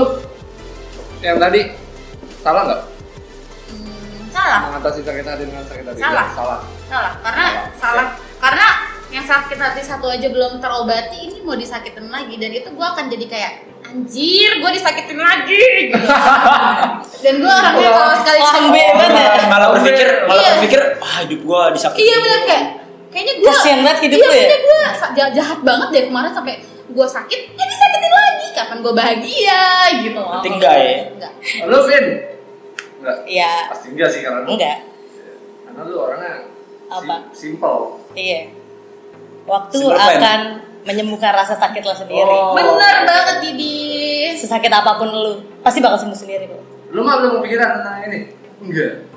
A: yang tadi salah nggak
G: Hmm, Salah.
A: mengatasi sakit hati dengan sakit hati?
G: Salah.
A: Ya, salah.
G: Salah. Karena
A: Salah.
G: salah. Karena yang sakit hati satu aja belum terobati ini mau disakitin lagi dan itu gue akan jadi kayak anjir gue disakitin lagi gitu. dan gue orangnya kalau sekali
D: Orang bebas ya.
E: Malah- malah berpikir malah
G: Iya.
E: berpikir wah hidup gua disakiti
G: Iya benar kayak kayaknya gue
D: Kasian banget hidup lu
G: iya,
D: ya?
G: kayaknya gue jahat banget deh kemarin sampai gue sakit jadi sakitin lagi kapan gue bahagia gitu loh.
E: Penting nggak ya?
G: Nggak.
A: Lu Vin? Enggak.
D: Iya.
A: Pasti enggak sih karena lu.
D: Enggak.
A: Karena lu orangnya
D: Apa?
A: sim- simple.
D: Iya. Waktu
E: Sebelum apa ya?
D: akan menyembuhkan rasa sakit lo sendiri.
A: Oh.
G: Bener banget Didi.
D: Sesakit apapun lu, pasti bakal sembuh sendiri kok.
A: Lu mah belum kepikiran tentang ini? Enggak.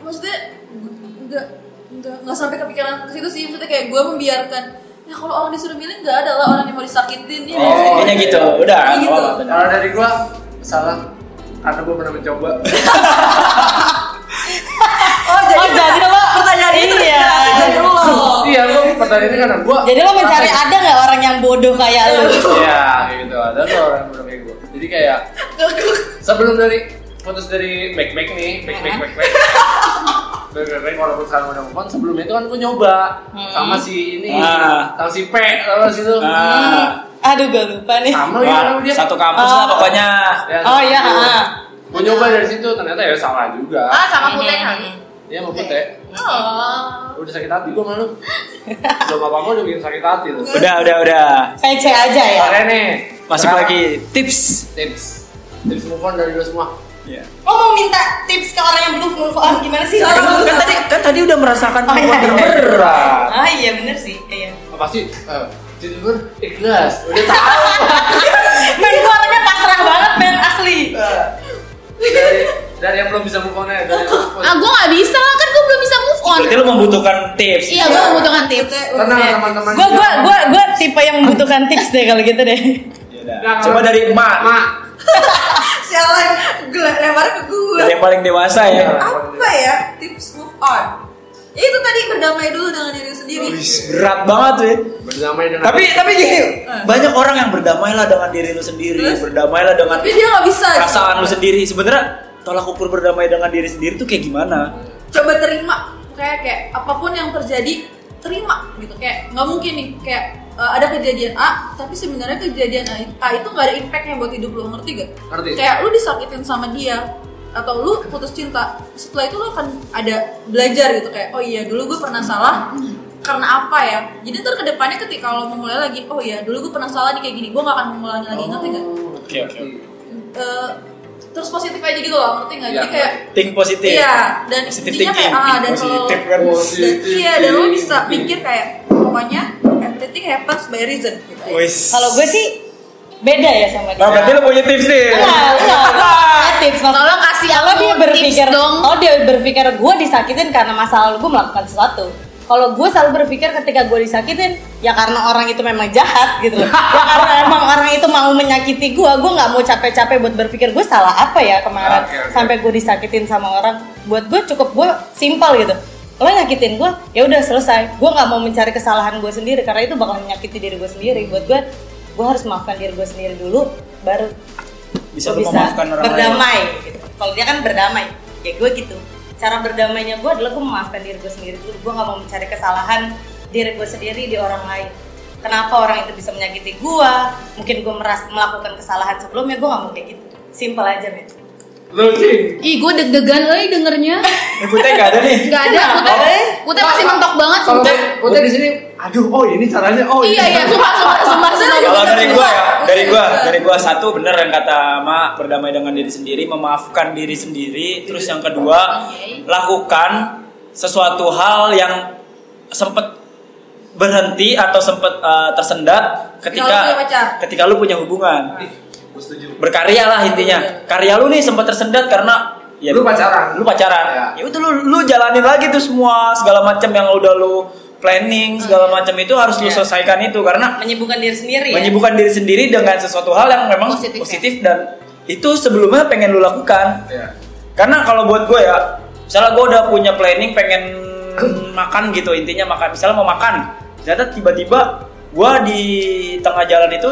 F: maksudnya nggak nggak nggak sampai kepikiran ke situ sih maksudnya kayak gue membiarkan ya kalau orang disuruh milih nggak ada lah orang yang mau disakitin ya
A: Oh,
E: intinya
A: iya.
E: gitu udah
F: Iya gitu.
E: oh, benar.
A: Kalau dari gua salah karena gua pernah mencoba.
F: oh jadi,
D: Oh, jadi lo
F: pertanyaan itu
D: iya.
F: terinspirasi dari lo
A: iya, gua pertanyaannya karena gua
D: Jadi lo mencari ada nggak orang yang bodoh kayak lu?
A: Iya, kayak gitu. Ada tuh orang yang udah kayak gue. Jadi kayak sebelum dari putus dari back back nih, back back back back. Back back back walaupun sekarang udah move on, sebelumnya itu kan gue nyoba
D: Hmm.
A: sama si ini,
E: Ah.
A: sama si P, sama si itu.
E: Ah.
D: Aduh gue lupa nih.
A: Sama lagi
E: Wah,
A: sama dia.
E: satu kampus lah
D: Oh.
E: pokoknya
A: Ya,
D: Oh iya.
A: Gue nyoba dari situ ternyata ya salah juga.
D: Ah.
G: Ah sama putih kan.
A: Iya mau putih.
G: Oh.
A: Udah sakit hati gue malu. Belum apa apa udah bikin sakit hati tuh.
E: Udah, udah, udah.
D: PC aja ya.
A: Oke nih.
E: Masuk
A: sekarang
E: lagi tips.
A: Tips. Tips move on dari lu semua.
E: Iya.
D: Oh mau minta tips ke orang yang belum move on gimana sih? Cara move on?
E: Kan tadi kan tadi udah merasakan
D: Oh, iya, iya.
E: berat.
D: Ah iya bener sih. Iya.
A: Apa sih? Eh, tips gue ikhlas. Udah tahu.
D: Men gua orangnya pasrah banget men asli.
A: dari dari yang belum bisa move on ya. Dari yang belum move on.
G: Ah, gue gak bisa lah, kan gue belum bisa move on.
E: Berarti lu membutuhkan tips.
G: Iya, gue membutuhkan tips.
A: Tenang teman-teman.
D: Gua gua gua gua tipe yang membutuhkan tips deh kalau gitu deh.
E: Ya udah.
A: Nah,
E: Coba
A: kalau-
E: dari emak,
A: Mak.
F: Sialan, gila lempar ke gue.
E: dari yang paling dewasa ya.
F: Apa ya tips move on? Ya itu tadi berdamai dulu dengan diri
A: Oh,
F: sendiri.
E: Berat banget tuh. ya.
A: Berdamai dengan
E: Tapi tapi gini, banyak orang yang berdamailah dengan diri lu sendiri, berdamailah dengan
F: Tapi dia nggak bisa.
E: perasaan lu sendiri. Sebenarnya tolak ukur berdamai dengan diri sendiri tuh kayak gimana?
F: Coba terima kayak kayak apapun yang terjadi terima gitu kayak nggak mungkin nih kayak eh, ada kejadian A tapi sebenarnya kejadian A, A itu nggak ada impactnya buat hidup lo ngerti gak?
A: Ngerti.
F: Kayak lu disakitin sama dia atau lu putus cinta setelah itu lu akan ada belajar gitu kayak oh iya dulu gue pernah salah karena apa ya jadi ntar kedepannya ketika lo memulai lagi oh iya dulu gue pernah salah nih kayak gini gue gak akan mengulangi lagi ngerti
A: Oh.
F: gak?
E: Oke, oke.
F: Eh, terus positif aja gitu loh ngerti gak? jadi
A: Iya.
F: kayak
E: Think positif.
F: Iya, dan
E: Positive
F: intinya kayak
E: thinking.
F: ah, dan kalau
E: Positive kan.
F: dan- iya dan lo bisa mikir kayak pokoknya everything happens by reason gitu.
E: Wis.
D: Kalau gue sih beda ya sama dia.
E: Nah, berarti lu punya tips nih.
F: Iya.
D: Enggak, enggak. Ada tips maksud-
G: Tolong kasih
D: kalau
G: aku
D: dia berpikir
G: tips dong.
D: oh dia berpikir gue disakitin karena masa lalu gue melakukan sesuatu kalau gue selalu berpikir ketika gue disakitin ya karena orang itu memang jahat gitu loh ya karena emang orang itu mau menyakiti gue gue nggak mau capek-capek buat berpikir gue salah apa ya kemarin
A: Oke, oke.
D: sampai gue disakitin sama orang buat gue cukup gue simpel gitu lo nyakitin gue ya udah selesai gue nggak mau mencari kesalahan gue sendiri karena itu bakal menyakiti diri gue sendiri buat gue gue harus maafkan diri gue sendiri dulu baru
E: Bisa
D: Gua
E: lu memaafkan orang lain.
D: berdamai gitu. kalau dia kan berdamai ya gue gitu cara berdamainya gue adalah gue memaafkan diri gue sendiri dulu gue nggak mau mencari kesalahan diri gue sendiri di orang lain kenapa orang itu bisa menyakiti gue mungkin gue meras- melakukan kesalahan sebelumnya gue nggak mau kayak gitu simple aja men
A: lu Cing.
G: Ih, gue deg-degan euy dengernya.
E: Eh, gue nggak ada nih.
G: Gak
F: Iya.
G: ada,
D: Kenapa,
G: Kute.
D: euy?
G: Kute masih mentok banget
A: Kalau
G: sumpah.
A: Ute di sini, aduh, oh ini caranya, oh
G: Iya,
A: ini
G: iya, sumpah, sumpah, sumpah, sumpah.
E: Kalau dari gua ya, dari gua,
F: Oke,
E: dari gua satu bener yang kata Ma berdamai dengan diri sendiri, memaafkan diri sendiri. Terus yang kedua,
G: Oke.
E: lakukan sesuatu hal yang sempet berhenti atau sempet eh, tersendat ketika
F: Ketika lu punya pacar.
E: ketika lu punya hubungan.
G: iya.
A: Gue setuju.
E: Berkarya lah
F: Iya.
E: intinya. Karya lu nih sempet tersendat karena ya
A: Lu pacaran.
E: lu pacaran.
A: Iya.
E: Ya udah lu lu jalanin lagi tuh semua segala macam yang udah lu planning segala macam itu harus lu
D: Iya.
E: selesaikan itu karena
D: menyibukkan diri sendiri ya
E: menyibukkan diri sendiri dengan sesuatu hal yang memang
G: Positif,
E: positif,
G: ya.
E: dan itu sebelumnya pengen lu lakukan
A: Iya.
E: karena kalau buat gue ya misalnya gue udah punya planning pengen makan gitu intinya makan misalnya mau makan ternyata tiba-tiba gue di tengah jalan itu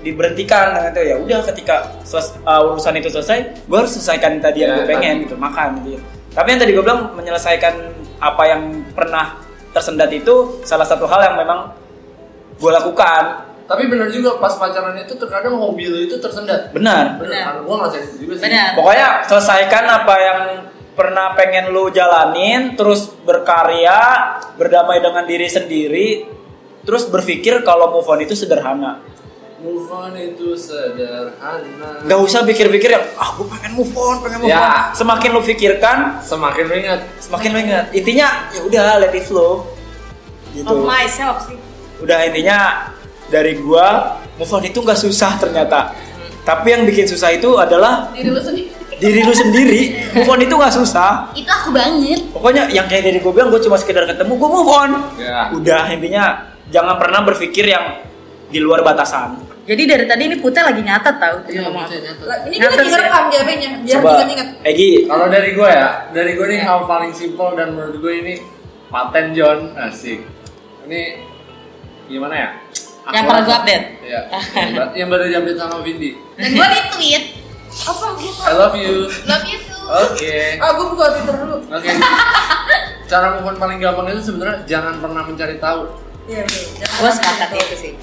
E: diberhentikan nah itu ya udah ketika seles- uh, urusan itu selesai gue harus selesaikan tadi yang
A: Ya,
E: gue pengen
A: tadi.
E: gitu makan gitu ya. tapi yang tadi gue bilang menyelesaikan apa yang pernah tersendat itu salah satu hal yang memang gue lakukan
A: Tapi benar juga pas pacaran itu terkadang hobi lu itu tersendat.
E: benar
A: Benar.
D: Benar.
A: Gue ngerasain itu juga sih.
D: Benar.
E: Pokoknya selesaikan apa yang pernah pengen lu jalanin, terus berkarya, berdamai dengan diri sendiri, terus berpikir kalau move on itu sederhana.
A: Move on itu sederhana.
E: Gak usah pikir-pikir yang ah gue pengen move on, pengen move
A: Ya.
E: on. Semakin lu pikirkan,
A: Semakin lu ingat.
E: semakin lu ingat. Intinya ya udah let it flow. Gitu.
D: of myself sih
E: Udah intinya dari gua move on itu nggak susah ternyata. Tapi yang bikin susah itu adalah
G: Diri lu sendiri.
E: diri lu sendiri. Move on itu nggak susah.
G: Itu aku banget.
E: Pokoknya yang kayak dari gue bilang gue cuma sekedar ketemu gue move on.
A: Ya.
E: Udah intinya jangan pernah berpikir yang di luar batasan.
D: jadi dari tadi ini Putih lagi nyatet tau
A: Iya, maksudnya nyata.
F: Lah, Ini dia lagi
D: Nyatet sih.
F: ngerekam di HP-nya biar
E: Coba
F: ingat-ingat.
E: Egi
A: Kalau dari gue ya, dari gue nih hal paling simpel dan menurut gue ini paten John asik. Ini gimana ya?
D: Yang pernah gue update?
A: Iya. Yang ber- yang baru diupdate sama Vindi.
G: Dan gue retweet.
F: Apa gue?
A: I love you.
G: Love you too.
A: Oke.
F: Ah, gue buka Twitter dulu.
A: Oke. Cara move on paling gampang itu sebenarnya jangan pernah mencari tahu.
F: Iya, iya.
D: gue sepakat itu sih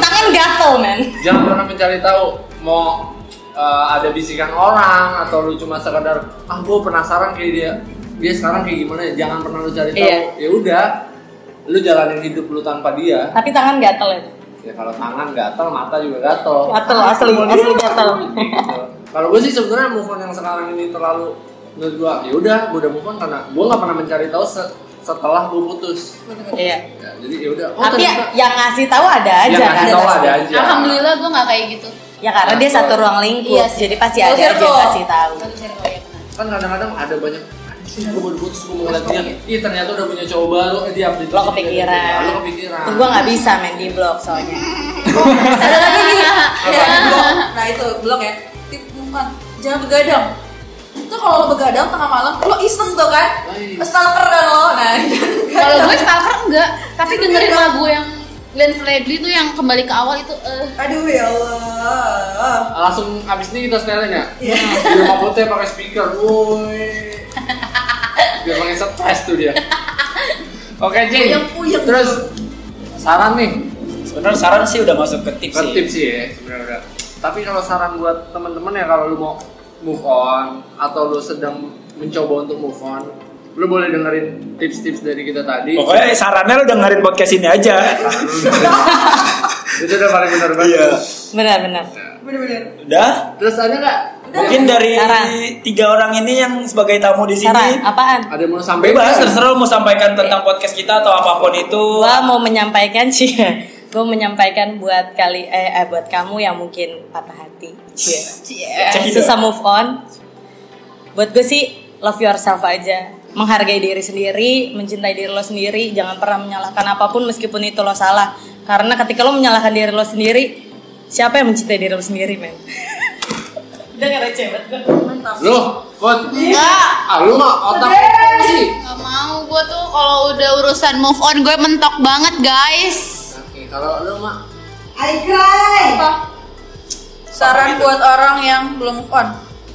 A: Jangan.
D: tangan gatel men
A: Jangan pernah mencari tahu mau eh, ada bisikan orang atau lu cuma sekedar ah gue penasaran kayak dia. dia sekarang kayak gimana ya jangan pernah lu cari tahu
D: Iya.
A: ya udah lu jalanin hidup lu tanpa dia
D: Tapi tangan gatel ya.
A: ya kalau tangan gatel mata juga gatel Ah,
D: Gatel asli, asli gatel.
A: Gitu. kalau gue sih sebenarnya move on yang sekarang ini terlalu menurut gue ya udah gue udah move on karena gue nggak pernah mencari tahu se- setelah gue putus
D: Iya.
A: ya, jadi ya udah oh
D: Tapi
A: ternyata-
D: yang ngasih tahu ada aja
A: yang ngasih
D: kan?
A: tahu ada aja
G: Alhamdulillah gue nggak kayak gitu.
D: Ya karena dia satu ruang lingkup,
G: Iya sih.
D: jadi pasti
F: Satu
D: ada aja yang
F: circle.
D: ngasih tahu.
G: Satu circle, ya benar.
A: kan kadang-kadang ada banyak anjing gue baru putus gue mau ngeliat dia iya ternyata udah punya cowok baru eh dia update
D: Lo
A: sini,
D: kepikiran.
A: lo kepikiran
D: Tuh gue nggak bisa main di blog soalnya.
F: ada lagi nih ada lagi blok nah itu blok ya tip bukan jangan begadang itu kalau lo begadang tengah malam lo iseng tuh kan
A: Wih.
F: stalker kan lo nah
G: Kalau gue stalker enggak, tapi
F: Iya,
G: dengerin lagu yang Glenn Fredly tuh yang kembali ke awal itu eh
F: aduh ya Allah
A: langsung abis ini kita setelin ya
F: Iya.
A: di rumah putih pakai speaker woi biar pakai stres tuh dia oke Jin
F: Puyeng-puyeng.
A: terus saran nih
E: Sebenarnya saran sih udah masuk ke tips
A: bukan
E: Iya sih.
A: tips sih ya sebenarnya udah tapi kalau saran buat temen-temen ya kalau lu mau move on atau lu sedang mencoba untuk move on lu boleh dengerin tips-tips dari kita tadi
E: Pokoknya sarannya lu dengerin podcast ini aja.
A: itu udah paling benar banget
E: Iya.
D: Benar-benar.
F: bener-bener
E: Udah.
A: terus ada nggak
E: Mungkin dari
D: Saran.
E: tiga orang ini yang sebagai tamu di sini
D: Saran apaan?
A: ada yang mau sampai
E: bebas terserah lu mau sampaikan tentang podcast kita atau apapun itu.
D: Gua mau menyampaikan sih. Gue menyampaikan buat kali eh, eh, buat kamu yang mungkin patah hati.
G: cie.
E: Cek
D: susah move on. Buat gue sih love yourself aja. Menghargai diri sendiri, mencintai diri lo sendiri, jangan pernah menyalahkan apapun meskipun itu lo salah. Karena ketika lo menyalahkan diri lo sendiri, siapa yang mencintai diri lo sendiri, men? Udah gak receh banget gue.
A: lu kon
E: Iya.
A: ah lu mah otak apa sih
G: Gak mau gue tuh kalau udah urusan move on gue mentok banget guys.
A: oke kalau lu mah
F: I cry saran buat orang yang belum move on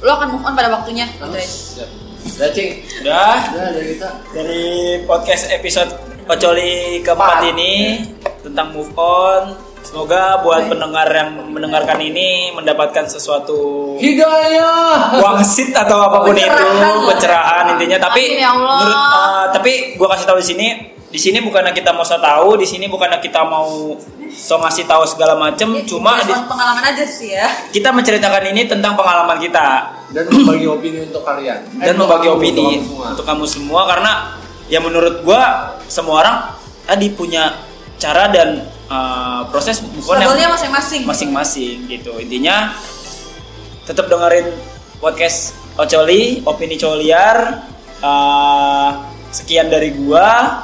F: lo akan move on pada waktunya gitu ya
A: siap udah cing
E: Udah.
A: udah dari kita
E: dari podcast episode Ocoli keempat ini tentang move on. Semoga buat pendengar yang mendengarkan ini mendapatkan sesuatu
A: hidayah
E: wangsit atau apapun itu pencerahan intinya tapi
G: Amin, ya Allah.
E: menurut eh, tapi gua kasih tahu di sini di sini bukannya kita mau so tahu di sini bukannya kita mau so ngasih tahu segala macem cuma di-
F: Cuman pengalaman aja sih ya
E: kita menceritakan ini tentang pengalaman kita
A: dan membagi opini untuk kalian Eh,
E: dan
A: untuk
E: membagi
A: kamu,
E: opini
A: untuk kamu semua.
E: untuk kamu semua karena ya menurut gua semua orang tadi punya cara dan uh, proses move on yang
F: Struggle-nya masing-masing
E: masing-masing gitu intinya tetap dengerin podcast Ocoli opini Coliar Uh, sekian dari gua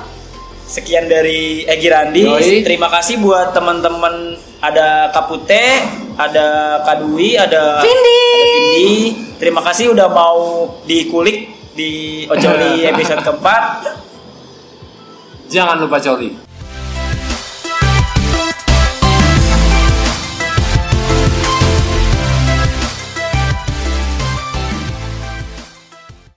E: sekian dari Egi Randi
A: Yoi.
E: terima kasih buat teman-teman ada Kapute ada Kadui ada Vindi. Terima kasih udah mau dikulik di Ocoli episode keempat.
A: jangan lupa coli